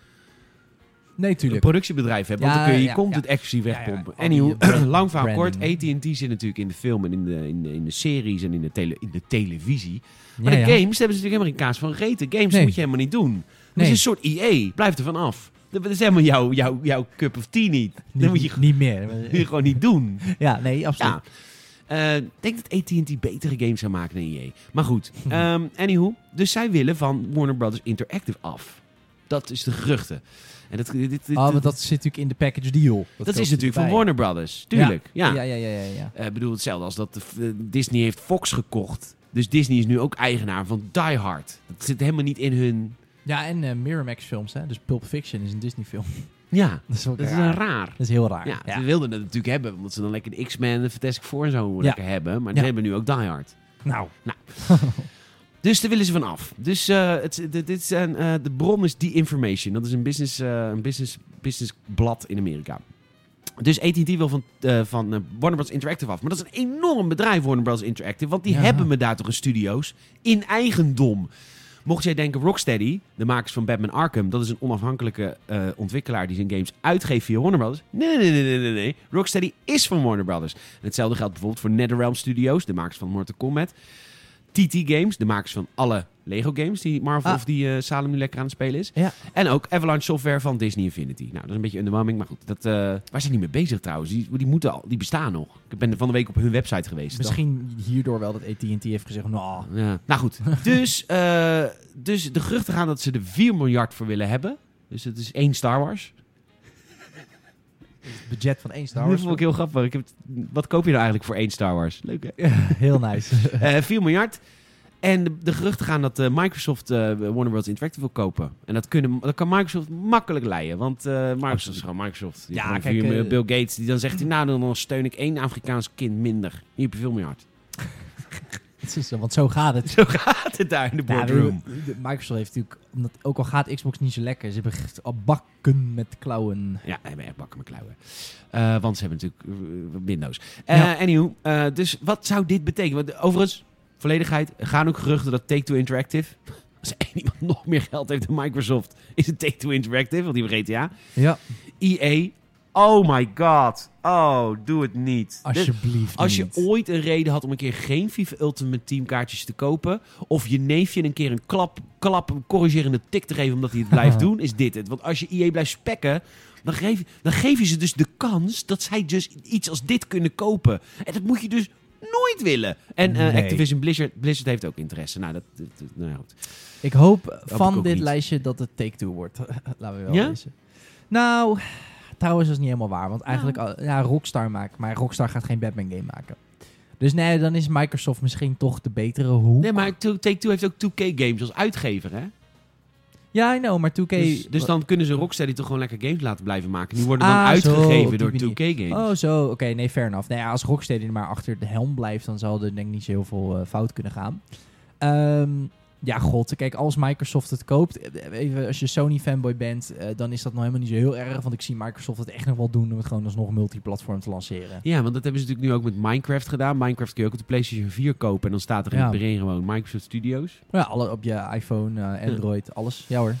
S2: Nee,
S1: een
S2: tuurlijk.
S1: productiebedrijf hebt. Want
S2: Ja,
S1: dan kun je je
S2: ja,
S1: content
S2: ja.
S1: exclusief
S2: Ja, ja,
S1: wegpompen.
S2: al die
S1: Anyhow,
S2: brand-
S1: lang verhaal kort.
S2: branding.
S1: AT&T zit natuurlijk in de film en in de, in de, in de series en in de, tele, in de televisie. Maar
S2: Ja,
S1: de
S2: ja.
S1: games hebben ze natuurlijk helemaal geen kaas van gegeten. Games
S2: Nee.
S1: moet je helemaal niet doen. Dat
S2: Nee.
S1: is een soort EA. Blijf er van af. Dat is helemaal jouw, jouw, jouw cup of tea niet. Dat moet je
S2: Niet, niet meer.
S1: gewoon niet doen.
S2: Ja, nee, absoluut.
S1: Ja. Eh, Ik denk dat AT&T betere games zou maken dan EA. Maar goed,
S2: Hm.
S1: ehm anywho. Dus zij willen van Warner Brothers Interactive af. Dat is de geruchten. En dat, dit, dit-
S2: Ah, maar
S1: dit-
S2: dat zit natuurlijk in de package deal.
S1: dat,
S2: komt
S1: is natuurlijk van
S2: erbij.
S1: Warner Brothers. Tuurlijk, ja.
S2: Ja, ja, ja, ja. ja.
S1: Eh, Ik bedoel, hetzelfde als dat eh, Disney heeft Fox gekocht. Dus Disney is nu ook eigenaar van Die Hard. Dat zit helemaal niet in hun...
S2: Ja, en eh, Miramax films, hè. Dus Pulp Fiction is een Disney film.
S1: Ja,
S2: Dat is wel
S1: dat is
S2: raar.
S1: een raar.
S2: Dat is heel raar.
S1: Ja, dus-
S2: Ja,
S1: ze wilden het natuurlijk hebben, omdat ze dan lekker de X-Men en de Fantastic Four en zo
S2: Ja.
S1: lekker hebben. Maar ze
S2: Ja.
S1: hebben nu ook Die Hard.
S2: Nou.
S1: Dus daar willen ze van af. Dus eh, het, dit- dit zijn, eh, de bron is The Information. Dat is een business, eh, een business, business blad in Amerika. Dus AT&T wil van, eh, van eh, Warner Bros. Interactive af. Maar dat is een enorm bedrijf, Warner Bros. Interactive. Want die
S2: Ja.
S1: hebben me daar toch een studio's in eigendom. Mocht jij denken, Rocksteady, de makers van Batman Arkham... dat is een onafhankelijke eh, ontwikkelaar die zijn games uitgeeft via Warner Brothers. Nee, nee, nee, nee, nee, nee. Rocksteady is van Warner Brothers. En hetzelfde geldt bijvoorbeeld voor NetherRealm Studios, de makers van Mortal Kombat. TT Games, de makers van alle Lego games die Marvel
S2: Ah.
S1: of die eh, Salem nu lekker aan het spelen is.
S2: Ja.
S1: En ook Avalanche Software van Disney Infinity. Nou, dat is een beetje underwhelming, maar goed. Dat, eh waar zijn die mee bezig trouwens? Die, die, moeten al, die bestaan nog. Ik ben van de week op hun website geweest.
S2: Misschien hierdoor wel dat E AT&T heeft gezegd, nou,
S1: Ja. Nou goed, dus, eh, dus de geruchten gaan dat ze er 4 miljard voor willen hebben. Dus het is één Star Wars.
S2: het budget van één Star
S1: dat
S2: Wars.
S1: vond ik heel grappig. Ik heb het- wat koop je nou eigenlijk voor één Star Wars? Leuk hè?
S2: heel nice.
S1: Eh, 4 miljard. En de, de geruchten gaan dat eh, Microsoft eh Warner Bros. Interactive wil kopen. En dat, kunnen, dat kan Microsoft makkelijk leiden. Want eh, Microsoft is gewoon Microsoft. Die
S2: Ja,
S1: heeft
S2: kijk,
S1: gewoon vier-
S2: eh,
S1: Bill Gates die dan zegt, hij, nou dan dan steun ik één Afrikaans kind minder. Hier heb je veel miljard.
S2: Het is, eh, want zo gaat het.
S1: Zo gaat het daar in de
S2: Ja,
S1: boardroom.
S2: de- de- Microsoft heeft natuurlijk, omdat, ook al gaat Xbox niet zo lekker, ze hebben echt al bakken met klauwen.
S1: Ja, hij hebben echt bakken met klauwen. Eh, want ze hebben natuurlijk eh, Windows. Eh
S2: Ja.
S1: Anywho, eh, dus wat zou dit betekenen? Want, eh, overigens, volledigheid, er gaan ook geruchten dat Take-Two Interactive... Als één iemand nog meer geld heeft dan Microsoft, is het Take-Two Interactive, want die hebben GTA.
S2: Ja,
S1: EA, oh my god, oh, doe het niet. Dit-
S2: alsjeblieft
S1: als je
S2: niet.
S1: ooit een reden had om een keer geen FIFA Ultimate Team kaartjes te kopen... of je neefje een keer een klap, klap een corrigerende tik te geven omdat hij het blijft doen, is dit het. Want als je EA blijft spekken, dan geef, dan geef je ze dus de kans dat zij dus iets als dit kunnen kopen. En dat moet je dus nooit willen. En eh,
S2: Nee.
S1: Activision Blizzard, Blizzard heeft ook interesse. Nou, dat, dat- dat- nou ja, goed.
S2: Ik hoop van
S1: ook
S2: dit
S1: niet.
S2: lijstje dat het Take-Two wordt. Laten we wel
S1: Ja?
S2: wezen. Nou, trouwens, dat is niet helemaal waar. Want eigenlijk, al- ja, Rockstar maakt, maar Rockstar gaat geen Batman-game maken. Dus nee, dan is Microsoft misschien toch de betere hoek.
S1: Nee, maar To- Take-Two heeft ook 2K Games als uitgever, hè?
S2: Ja, I know, maar 2K...
S1: Dus, dus dan kunnen ze Rocksteady toch gewoon lekker games laten blijven maken. Die worden dan
S2: Ah, zo, op
S1: uitgegeven
S2: die
S1: door
S2: manier.
S1: 2K Games.
S2: Oh, zo. Oké, nee, fair enough. Nou ja, als Rocksteady er maar achter de helm blijft, dan zal er denk ik niet zo heel veel eh, fout kunnen gaan. Ehm, ja, god. Kijk, als Microsoft het koopt, eh, even als je Sony-fanboy bent, eh, dan is dat nog helemaal niet zo heel erg. Want ik zie Microsoft het echt nog wel doen om het gewoon alsnog multiplatform te lanceren.
S1: Ja, want dat hebben ze natuurlijk nu ook met Minecraft gedaan. Minecraft kun je ook op de PlayStation 4 kopen. En dan staat er in
S2: Ja.
S1: het begin gewoon Microsoft Studios.
S2: Ja, alle, op je iPhone, eh, Android, alles. Ja hoor.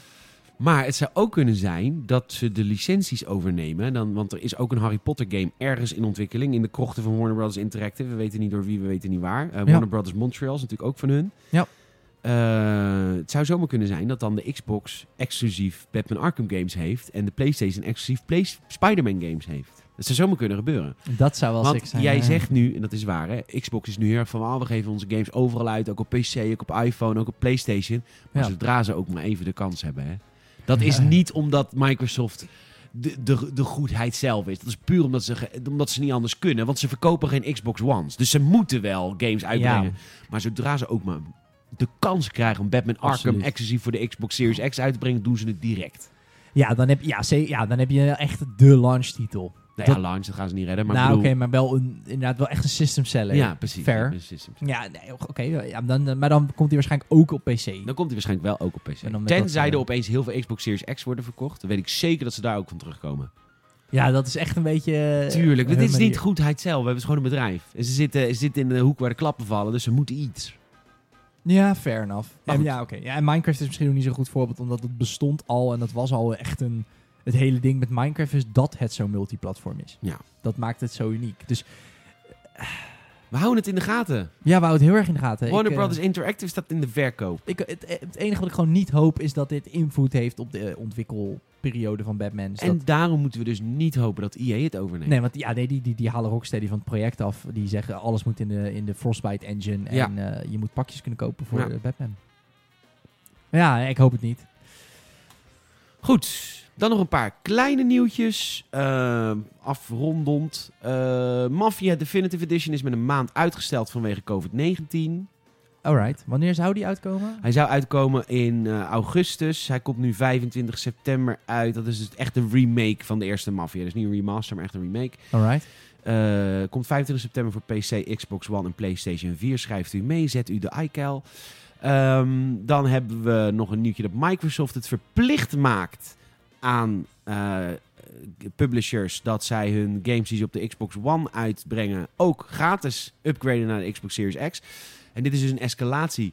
S1: Maar het zou ook kunnen zijn dat ze de licenties overnemen. Dan, want er is ook een Harry Potter game ergens in ontwikkeling. In de krochten van Warner Brothers Interactive. We weten niet door wie, we weten niet waar. Eh, Warner Brothers Montreal is natuurlijk ook van hun.
S2: Ja.
S1: Eh, het zou zomaar kunnen zijn dat dan de Xbox exclusief Batman Arkham games heeft. En de PlayStation exclusief Play- Spider-Man games heeft. Dat zou zomaar kunnen gebeuren.
S2: Dat zou wel sick
S1: Want
S2: zijn. eh.
S1: jij
S2: hè?
S1: zegt nu, en dat is waar, hè, Xbox is nu heel erg van, ah, we geven onze games overal uit, ook op PC, ook op iPhone, ook op PlayStation. Maar
S2: Ja.
S1: zodra ze ook maar even de kans hebben, hè. Dat is
S2: Ja.
S1: niet omdat Microsoft de, de, de goedheid zelf is. Dat is puur omdat ze, ge- omdat ze niet anders kunnen, want ze verkopen geen Xbox Ones. Dus ze moeten wel games uitbrengen. Maar zodra ze ook maar de kans krijgen om Batman Arkham
S2: Absoluut.
S1: exclusief voor de Xbox Series X uit te brengen, doen ze het direct.
S2: Ja, dan heb, ja, ze- ja, dan heb je echt de launch-titel.
S1: Nou
S2: Dat-
S1: ja, launch, dat gaan ze niet redden, maar
S2: Nou,
S1: ik
S2: oké,
S1: bedoel...
S2: maar wel een, inderdaad wel echt een system seller.
S1: ja, precies.
S2: Fair.
S1: Precies.
S2: Ja, nee, oké. ja, dan, dan- maar dan komt hij waarschijnlijk ook op PC.
S1: Dan komt hij waarschijnlijk wel ook op PC.
S2: En dan met
S1: Tenzij
S2: dat, eh,
S1: er opeens heel veel Xbox Series X worden verkocht. Dan weet ik zeker dat ze daar ook van terugkomen.
S2: Ja, dat is echt een beetje... eh,
S1: Tuurlijk, want
S2: hun
S1: dit is niet
S2: manier.
S1: goedheid zelf. We hebben het gewoon een bedrijf. En ze zitten, ze zitten in de hoek waar de klappen vallen, dus ze moeten iets.
S2: Ja, fair enough.
S1: Maar
S2: En
S1: goed.
S2: ja, oké. Ja, en Minecraft is misschien nog niet zo'n goed voorbeeld, omdat het bestond al en dat was al echt een... Het hele ding met Minecraft is dat het zo multiplatform is.
S1: Ja.
S2: Dat maakt het zo uniek. Dus eh,
S1: We houden het in de gaten.
S2: Ja, we houden het heel erg in de gaten.
S1: Warner
S2: ik, eh,
S1: Brothers Interactive staat in de verkoop.
S2: ik, het, het enige wat ik gewoon niet hoop is dat dit invloed heeft op de eh, ontwikkelperiode van Batman. Dus
S1: en
S2: dat-
S1: daarom moeten we dus niet hopen dat EA het overneemt.
S2: nee, want ja, nee, die, die, die halen Rocksteady van het project af. Die zeggen alles moet in de, in de Frostbite engine en
S1: Ja.
S2: eh, je moet pakjes kunnen kopen voor
S1: Ja.
S2: eh, Batman. Ja, ik hoop het niet.
S1: Goed, dan nog een paar kleine nieuwtjes. Ehm, afrondend. Eh Mafia Definitive Edition is met een maand uitgesteld vanwege COVID-19.
S2: Alright, wanneer zou die uitkomen?
S1: Hij zou uitkomen in eh, augustus. Hij komt nu 25 september uit. Dat is dus echt een remake van de eerste Mafia. Dus niet een remaster, maar echt een remake.
S2: Alright.
S1: Eh, komt 25 september voor PC, Xbox One en PlayStation 4. Schrijft u mee, zet u de iCal. Ehm, dan hebben we nog een nieuwtje dat Microsoft het verplicht maakt aan eh, publishers dat zij hun games die ze op de Xbox One uitbrengen ook gratis upgraden naar de Xbox Series X. En dit is dus een escalatie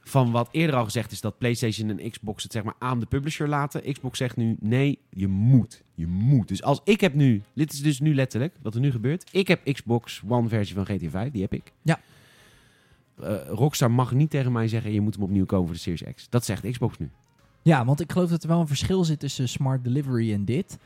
S1: van wat eerder al gezegd is dat PlayStation en Xbox het zeg maar aan de publisher laten. Xbox zegt nu nee, je moet. Je moet. Dus als ik heb nu, dit is dus nu letterlijk wat er nu gebeurt. Ik heb Xbox One versie van GTA 5, die heb ik.
S2: Ja.
S1: Eh, Rockstar mag niet tegen mij zeggen je moet hem opnieuw komen voor de Series X. Dat zegt Xbox nu.
S2: Ja, want ik geloof dat er wel een verschil zit tussen smart delivery en dit.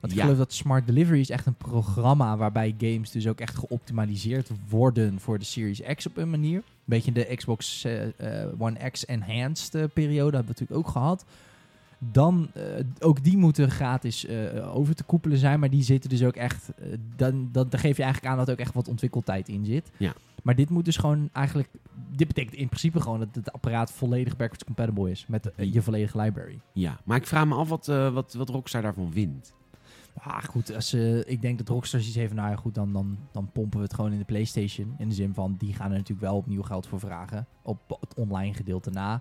S2: Want ik
S1: Ja.
S2: geloof dat smart delivery is echt een programma waarbij games dus ook echt geoptimaliseerd worden voor de Series X op een manier. Een beetje de Xbox eh, eh, One X enhanced eh, periode hebben we natuurlijk ook gehad. Dan, eh, ook die moeten gratis eh, over te koepelen zijn, maar die zitten dus ook echt, eh, dan, dan, dan geef je eigenlijk aan dat er ook echt wat ontwikkeltijd in zit.
S1: Ja.
S2: Maar dit moet dus gewoon eigenlijk, dit betekent in principe gewoon dat het apparaat volledig backwards compatible is met eh, je volledige library.
S1: Ja, maar ik vraag me af wat, eh, wat, wat Rockstar daarvan wint.
S2: Ah, goed, als, ze- ik denk dat Rockstar iets heeft, nou ja, goed, dan, dan, dan pompen we het gewoon in de PlayStation. In de zin van, die gaan er natuurlijk wel opnieuw geld voor vragen. Op het online gedeelte na.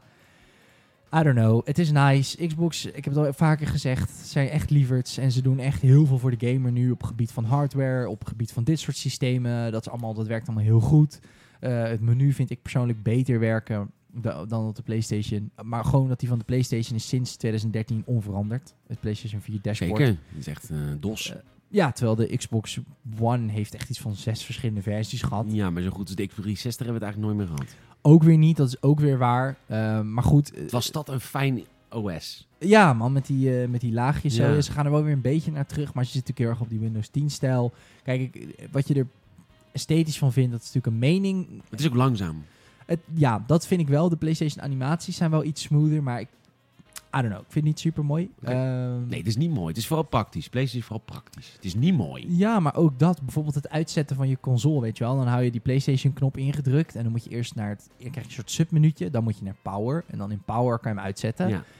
S2: I don't know, het is nice. Xbox, ik heb het al vaker gezegd, zijn echt lieverds. En ze doen echt heel veel voor de gamer nu op gebied van hardware, op gebied van dit soort systemen. Dat, is allemaal, dat werkt allemaal heel goed. Eh, het menu vind ik persoonlijk beter werken da- dan op de PlayStation. Maar gewoon dat die van de PlayStation is sinds 2013 onveranderd. Het PlayStation 4 dashboard.
S1: Zeker. Dat is echt eh, dos.
S2: Eh, Ja, terwijl de Xbox One heeft echt iets van zes verschillende versies gehad.
S1: Eh, ja, maar zo goed als de Xbox 360 hebben we het eigenlijk nooit meer gehad.
S2: Ook weer niet, dat is ook weer waar. Ehm, maar goed, eh,
S1: Was dat een fijn OS?
S2: ja man, met die, eh, met die laagjes. zo.
S1: Ja.
S2: Ze gaan er wel weer een beetje naar terug, maar ze zitten natuurlijk heel erg op die Windows 10-stijl. Kijk, ik- eh, wat je er esthetisch van vindt, dat is natuurlijk een mening.
S1: Het is ook langzaam.
S2: Het, ja, dat vind ik wel. De PlayStation animaties zijn wel iets smoother, maar ik... I don't know, ik vind het niet Ehm, super mooi.
S1: Oké. Nee, het is niet mooi. Het is vooral praktisch. PlayStation is vooral praktisch. Het is niet mooi.
S2: Ja, maar ook dat. Bijvoorbeeld het uitzetten van je console, weet je wel. Dan hou je die PlayStation-knop ingedrukt. En dan moet je eerst naar het... Dan krijg je een soort submenuutje. Dan moet je naar Power. En dan in Power kan je hem uitzetten.
S1: Ja.
S2: Dat zijn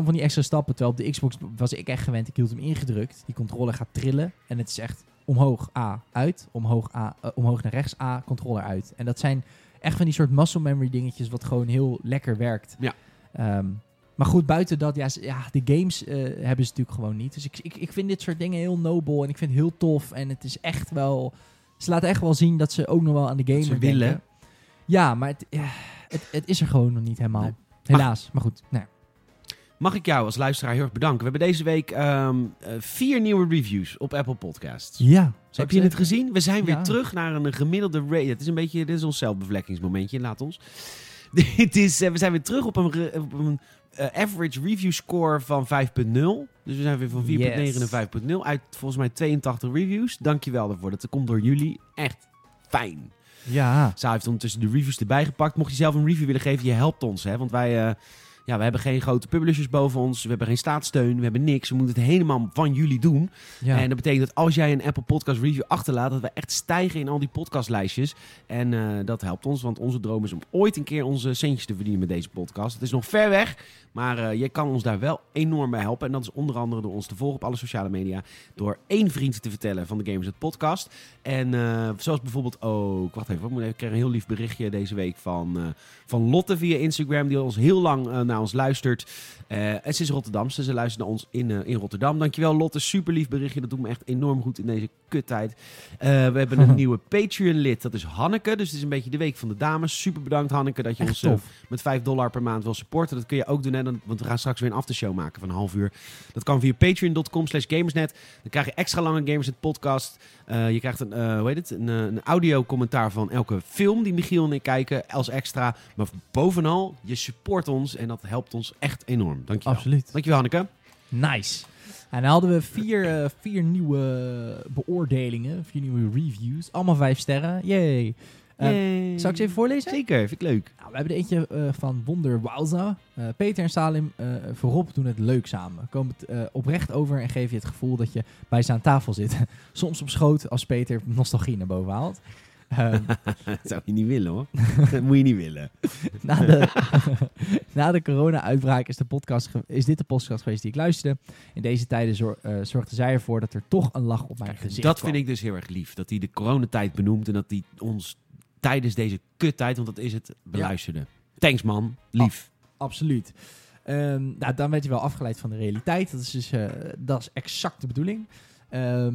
S2: allemaal van die extra stappen. Terwijl op de Xbox was ik echt gewend. Ik hield hem ingedrukt. Die controller gaat trillen. En het is echt omhoog A, uit. Omhoog, A, eh, omhoog naar rechts A, controller uit. En dat zijn echt van die soort muscle memory dingetjes... wat gewoon heel lekker werkt.
S1: Ja.
S2: Ehm, maar goed, buiten dat, ja, ze- ja de games eh, hebben ze natuurlijk gewoon niet. Dus ik, ik, ik vind dit soort dingen heel nobel en ik vind het heel tof. En het is echt wel... Ze laten echt wel zien dat ze ook nog wel aan de gamer
S1: ze willen.
S2: denken. Ja, maar het, ja, het, het is er gewoon nog niet helemaal.
S1: Nee.
S2: Helaas. Maar goed, nou ja.
S1: Mag ik jou als luisteraar heel erg bedanken. We hebben deze week ehm, eh, vier nieuwe reviews op Apple Podcasts.
S2: Ja.
S1: Heb je het gezien? We zijn weer
S2: Ja.
S1: terug naar een gemiddelde rate. Het is een beetje, dit is ons zelfbevlekkingsmomentje, laat ons. Dit is, eh, we zijn weer terug op een, re- op een eh, average review score van 5.0. Dus we zijn weer van 4.9
S2: Yes.
S1: naar 5.0 uit volgens mij 82 reviews. Dankjewel daarvoor. Dat komt door jullie. Echt fijn.
S2: Ja.
S1: Saar heeft ondertussen de reviews erbij gepakt. Mocht je zelf een review willen geven, je helpt ons. Hè? Want wij, eh, ja, we hebben geen grote publishers boven ons. We hebben geen staatssteun. We hebben niks. We moeten het helemaal van jullie doen.
S2: ja.
S1: En dat betekent dat als jij een Apple Podcast review achterlaat... dat we echt stijgen in al die podcastlijstjes. En eh, dat helpt ons. Want onze droom is om ooit een keer onze centjes te verdienen met deze podcast. Het is nog ver weg. Maar eh, je kan ons daar wel enorm bij helpen. En dat is onder andere door ons te volgen op alle sociale media. Door één vriend te vertellen van de Gamers het podcast. En eh, zoals bijvoorbeeld ook... Wacht even, wat moet ik ik kreeg een heel lief berichtje deze week van, eh, van Lotte via Instagram. Die ons heel lang eh, naar ons luistert. Eh, en ze is Rotterdamse. Ze luistert naar ons in, eh, in Rotterdam. Dankjewel Lotte, super lief berichtje. Dat doet me echt enorm goed in deze kuttijd. Eh, we hebben een nieuwe Patreon-lid, dat is Hanneke. Dus het is een beetje de week van de dames. Super bedankt Hanneke dat je
S2: Echt
S1: ons eh,
S2: tof.
S1: met 5 dollar per maand wil supporten. Dat kun je ook doen, hè, dan- want we gaan straks weer een aftershow maken van een half uur. Dat kan via patreon.com slash gamersnet. Dan krijg je extra lange Gamersnet podcast. Eh, je krijgt een, eh, hoe heet het? Een, eh, een audio commentaar van elke film die Michiel en ik kijken als extra. Maar bovenal, je support ons en dat helpt ons echt enorm. Dankjewel.
S2: Absoluut.
S1: Dankjewel Hanneke.
S2: Nice. En dan hadden we vier, eh, vier nieuwe beoordelingen, vier nieuwe reviews. Allemaal vijf sterren. Yay. Eh,
S1: Yay.
S2: Zal ik ze even voorlezen?
S1: Ehm, Zeker, vind ik leuk.
S2: Nou, we hebben er eentje eh, van Wonder Wowza. Eh, Peter en Salim eh, voorop doen het leuk samen. Komen het eh, oprecht over en geven je het gevoel dat je bij ze aan tafel zit. Soms op schoot als Peter nostalgie naar boven haalt. Ehm,
S1: Dat zou je niet willen hoor. dat moet je niet willen.
S2: na de, na de corona-uitbraak is, de podcast ge- is dit de podcast geweest die ik luisterde. In deze tijden zor- eh, zorgde zij ervoor dat er toch een lach op mijn gezicht
S1: dat
S2: kwam.
S1: vind ik dus heel erg lief. Dat hij de coronatijd benoemt en dat hij ons tijdens deze kuttijd, want dat is het, beluisterde. Thanks man, lief.
S2: Absoluut. Ehm, nou, dan werd je wel afgeleid van de realiteit. Dat is dus eh, dat is exact de bedoeling. Ehm,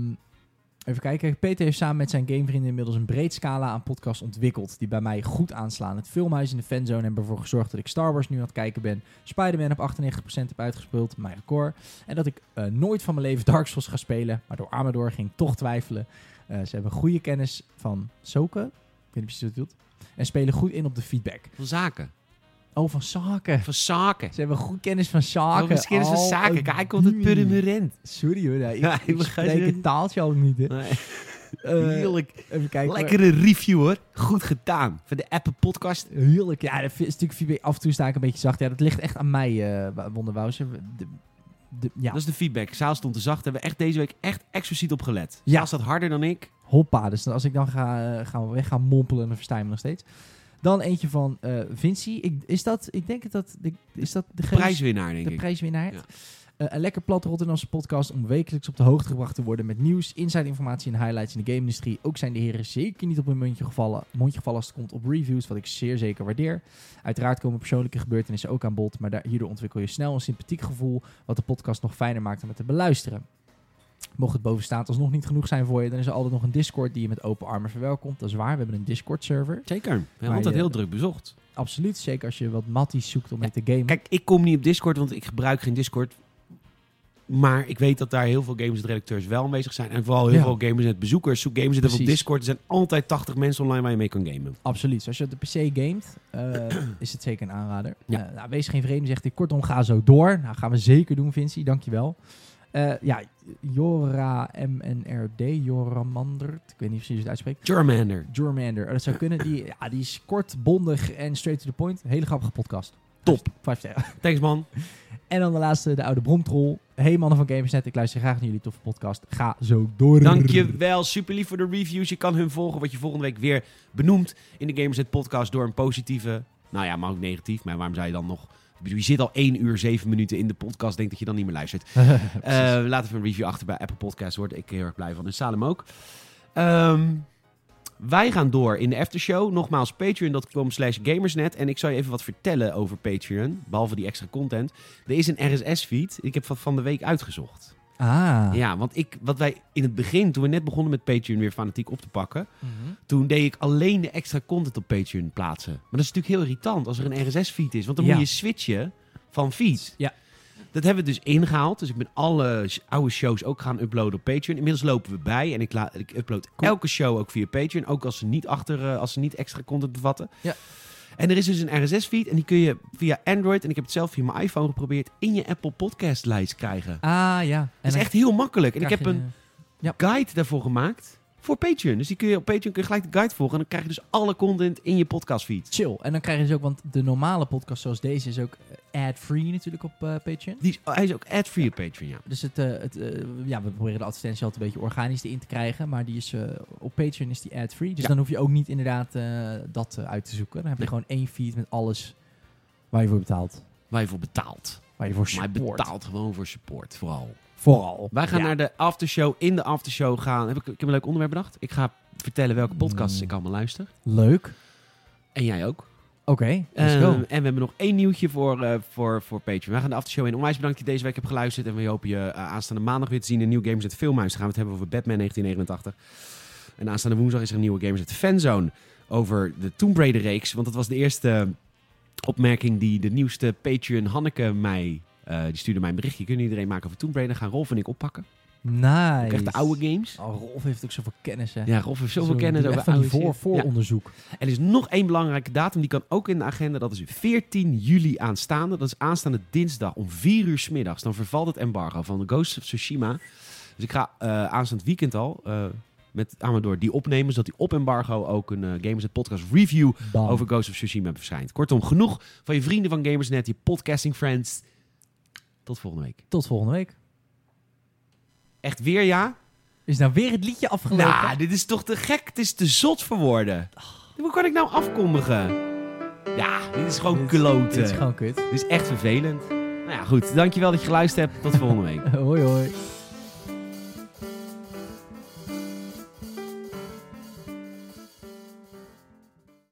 S2: even kijken. Peter heeft samen met zijn gamevrienden inmiddels een breed scala aan podcasts ontwikkeld. Die bij mij goed aanslaan. Het filmhuis in de fanzone hebben ervoor gezorgd dat ik Star Wars nu aan het kijken ben. Spider-Man op 98% heb uitgespeeld, mijn record. En dat ik eh, nooit van mijn leven Dark Souls ga spelen. Maar door Amador ging ik toch twijfelen. Eh, ze hebben goede kennis van Soken. Ik weet niet precies wat het doet. En spelen goed in op de feedback.
S1: Van zaken.
S2: Oh, van Saken.
S1: Van zaken.
S2: Ze hebben goed kennis van zaken.
S1: Oh, misschien is het
S2: Oh,
S1: zaken.
S2: oh,
S1: Kijk, komt het
S2: die.
S1: Purmerend.
S2: Sorry hoor, nee, ik,
S1: Ja, ik
S2: ik
S1: begrijp
S2: spreek
S1: het.
S2: het taaltje al niet. Hè. Eh,
S1: Heerlijk.
S2: even kijken. hoor.
S1: Lekkere review hoor. Goed gedaan. Van de Apple podcast.
S2: Heerlijk. Ja, dat is natuurlijk feedback. af en toe sta ik een beetje zacht. Ja, dat ligt echt aan mij, eh Wonderwouser. De, de, ja,
S1: Dat is de feedback. Zaal stond te zacht. Hebben we echt deze week echt expliciet op gelet.
S2: Ja.
S1: Zaal staat harder dan ik.
S2: hoppa. Dus als ik dan ga, eh, ga weg gaan mompelen, dan versta je me nog steeds. Dan eentje van eh Vinci. Ik, is dat, ik denk dat, de, is dat de,
S1: Prijswinnaar denk
S2: de
S1: ik.
S2: prijswinnaar.
S1: Ja.
S2: Eh, een lekker plat Rotterdamse podcast om wekelijks op de hoogte gebracht te worden met nieuws, insideinformatie en highlights in de game-industrie. Ook zijn de heren zeker niet op hun mondje gevallen, mondje gevallen als het komt op reviews, wat ik zeer zeker waardeer. Uiteraard komen persoonlijke gebeurtenissen ook aan bod, maar daar, hierdoor ontwikkel je snel een sympathiek gevoel wat de podcast nog fijner maakt om het te beluisteren. Mocht het bovenstaand alsnog niet genoeg zijn voor je, dan is er altijd nog een Discord die je met open armen verwelkomt. Dat is waar, we hebben een Discord-server.
S1: Zeker. Ja,
S2: Maar,
S1: altijd
S2: eh,
S1: heel druk bezocht.
S2: Absoluut, zeker als je wat matties zoekt om mee te gamen.
S1: Kijk, ik kom niet op Discord, want ik gebruik geen Discord. Maar ik weet dat daar heel veel gamers-redacteurs wel aanwezig zijn. En vooral heel
S2: Ja.
S1: veel gamers-bezoekers. Zoek gamers even op
S2: Precies.
S1: Discord. Er zijn altijd 80 mensen online waar je mee kan gamen.
S2: Absoluut. Dus Als je op de PC gamet, eh, is het zeker een aanrader.
S1: Ja.
S2: Eh, nou, wees geen vreemde, zegt hij. Kortom, ga zo door. Nou, gaan we zeker doen, Vinci. Dankjewel. Eh ja, Jora MNRD, Joramandert. Ik weet niet precies hoe je het uitspreekt.
S1: Charmander.
S2: Jormander. Oh, dat zou kunnen. Die, ja, die is kort, bondig en straight to the point. Hele grappige podcast. Dus
S1: Top.
S2: Vijf sterren.
S1: Thanks, man.
S2: En dan de laatste, de oude bromtrol. Hey mannen van Gamersnet, ik luister graag naar jullie toffe podcast. Ga zo door.
S1: Dankjewel. Super lief voor de reviews. Je kan hun volgen wat je volgende week weer benoemt in de Gamers Net podcast door een positieve. Nou ja, maar ook negatief. Maar waarom zou je dan nog. Ik bedoel, je zit al 1 uur 7 minuten in de podcast. Denk dat je dan niet meer luistert. Eh laat even een review achter bij Apple Podcasts. Word ik heel erg blij van. En Salem ook. Ehm, wij gaan door in de aftershow. Nogmaals, patreon.com slash gamersnet. En ik zal je even wat vertellen over Patreon. Behalve die extra content. Er is een RSS-feed. Ik heb van van de week uitgezocht.
S2: Ah.
S1: Ja, want ik, wat wij in het begin, toen we net begonnen met Patreon weer fanatiek op te pakken,
S2: Mhm.
S1: toen deed ik alleen de extra content op Patreon plaatsen. Maar dat is natuurlijk heel irritant als er een RSS-feed is, want dan
S2: Ja.
S1: moet je switchen van feed.
S2: Ja.
S1: Dat hebben we dus ingehaald. Dus ik ben alle sh- oude shows ook gaan uploaden op Patreon. Inmiddels lopen we bij en ik, la- ik upload
S2: Cool.
S1: elke show ook via Patreon. Ook als ze niet, achter, eh, als ze niet extra content bevatten.
S2: Ja.
S1: En er is dus een RSS-feed en die kun je via Android, en ik heb het zelf via mijn iPhone geprobeerd, in je Apple Podcast-lijst krijgen.
S2: Ah, ja. En
S1: Dat is
S2: dan
S1: echt heel makkelijk. En ik
S2: krijg
S1: heb
S2: je
S1: een guide daarvoor gemaakt. Voor Patreon. Dus die kun je op Patreon kun je gelijk de guide volgen. En dan krijg je dus alle content in je podcastfeed.
S2: chill. En dan krijg je dus ook, want de normale podcast zoals deze is ook eh, ad-free natuurlijk op eh, Patreon.
S1: Die is, oh, hij is ook ad-free op Patreon, ja.
S2: Dus het, eh, het, eh, ja, we proberen de advertentie altijd een beetje organisch erin te krijgen. Maar die is, eh, op Patreon is die ad-free. Dus
S1: Ja.
S2: dan hoef je ook niet inderdaad eh, dat eh, uit te zoeken. Dan heb je
S1: Nee.
S2: gewoon één feed met alles waar je voor betaalt.
S1: Waar je voor betaalt.
S2: Waar je voor
S1: Maar
S2: support.
S1: hij betaalt gewoon voor support, vooral.
S2: Vooral.
S1: Wij gaan
S2: Ja.
S1: naar de aftershow. In de aftershow gaan... Heb ik, ik heb een leuk Mm. onderwerp bedacht. Ik ga vertellen welke podcasts
S2: Mm.
S1: ik allemaal luister.
S2: Leuk.
S1: En jij ook.
S2: let's
S1: Ehm,
S2: go.
S1: en we hebben nog één nieuwtje voor, eh, voor, voor Patreon. We gaan de aftershow in. Onwijs bedankt dat je deze week hebt geluisterd. En we hopen je eh, aanstaande maandag weer te zien in Nieuw Gamers uit Filmhuis. Dan gaan we het hebben over Batman 1989. En aanstaande woensdag is er een nieuwe Gamers uit Fanzone over de Tomb Raider reeks. Want dat was de eerste opmerking die de nieuwste Patreon Hanneke mij... eh, die stuurde mij een berichtje. Kunnen iedereen maken over Tomb Raider? Gaan Rolf en ik oppakken.
S2: Nice.
S1: Ook echt de oude games.
S2: Oh, Rolf heeft ook zoveel kennis, hè.
S1: Ja, Rolf heeft
S2: Zo,
S1: zoveel
S2: doe
S1: kennis
S2: echt
S1: over
S2: van die
S1: oude
S2: voor,
S1: shit. Ja.
S2: vooronderzoek.
S1: Er is nog één belangrijke datum, die kan ook in de agenda. Dat is 14 juli aanstaande. Dat is aanstaande dinsdag om 4 uur 's middags. Dan vervalt het embargo van de Ghost of Tsushima. Dus ik ga eh, aanstaand weekend al eh, met Amador die opnemen. Zodat hij op embargo ook een eh, Gamers Net Podcast review
S2: Bam.
S1: over Ghost of Tsushima verschijnt. Kortom, genoeg van je vrienden van Gamers Net, je podcasting friends. Tot volgende week.
S2: Tot volgende week.
S1: Echt weer ja?
S2: Is nou weer het liedje afgelopen?
S1: Nou, dit is toch te gek. Het is te zot voor woorden. Hoe kan ik nou afkondigen? Ja, dit is gewoon
S2: Dit-
S1: kloten.
S2: Dit is gewoon kut.
S1: Dit is echt vervelend. Nou ja, goed. Dankjewel dat je geluisterd hebt. Tot volgende week.
S2: Hoi hoi.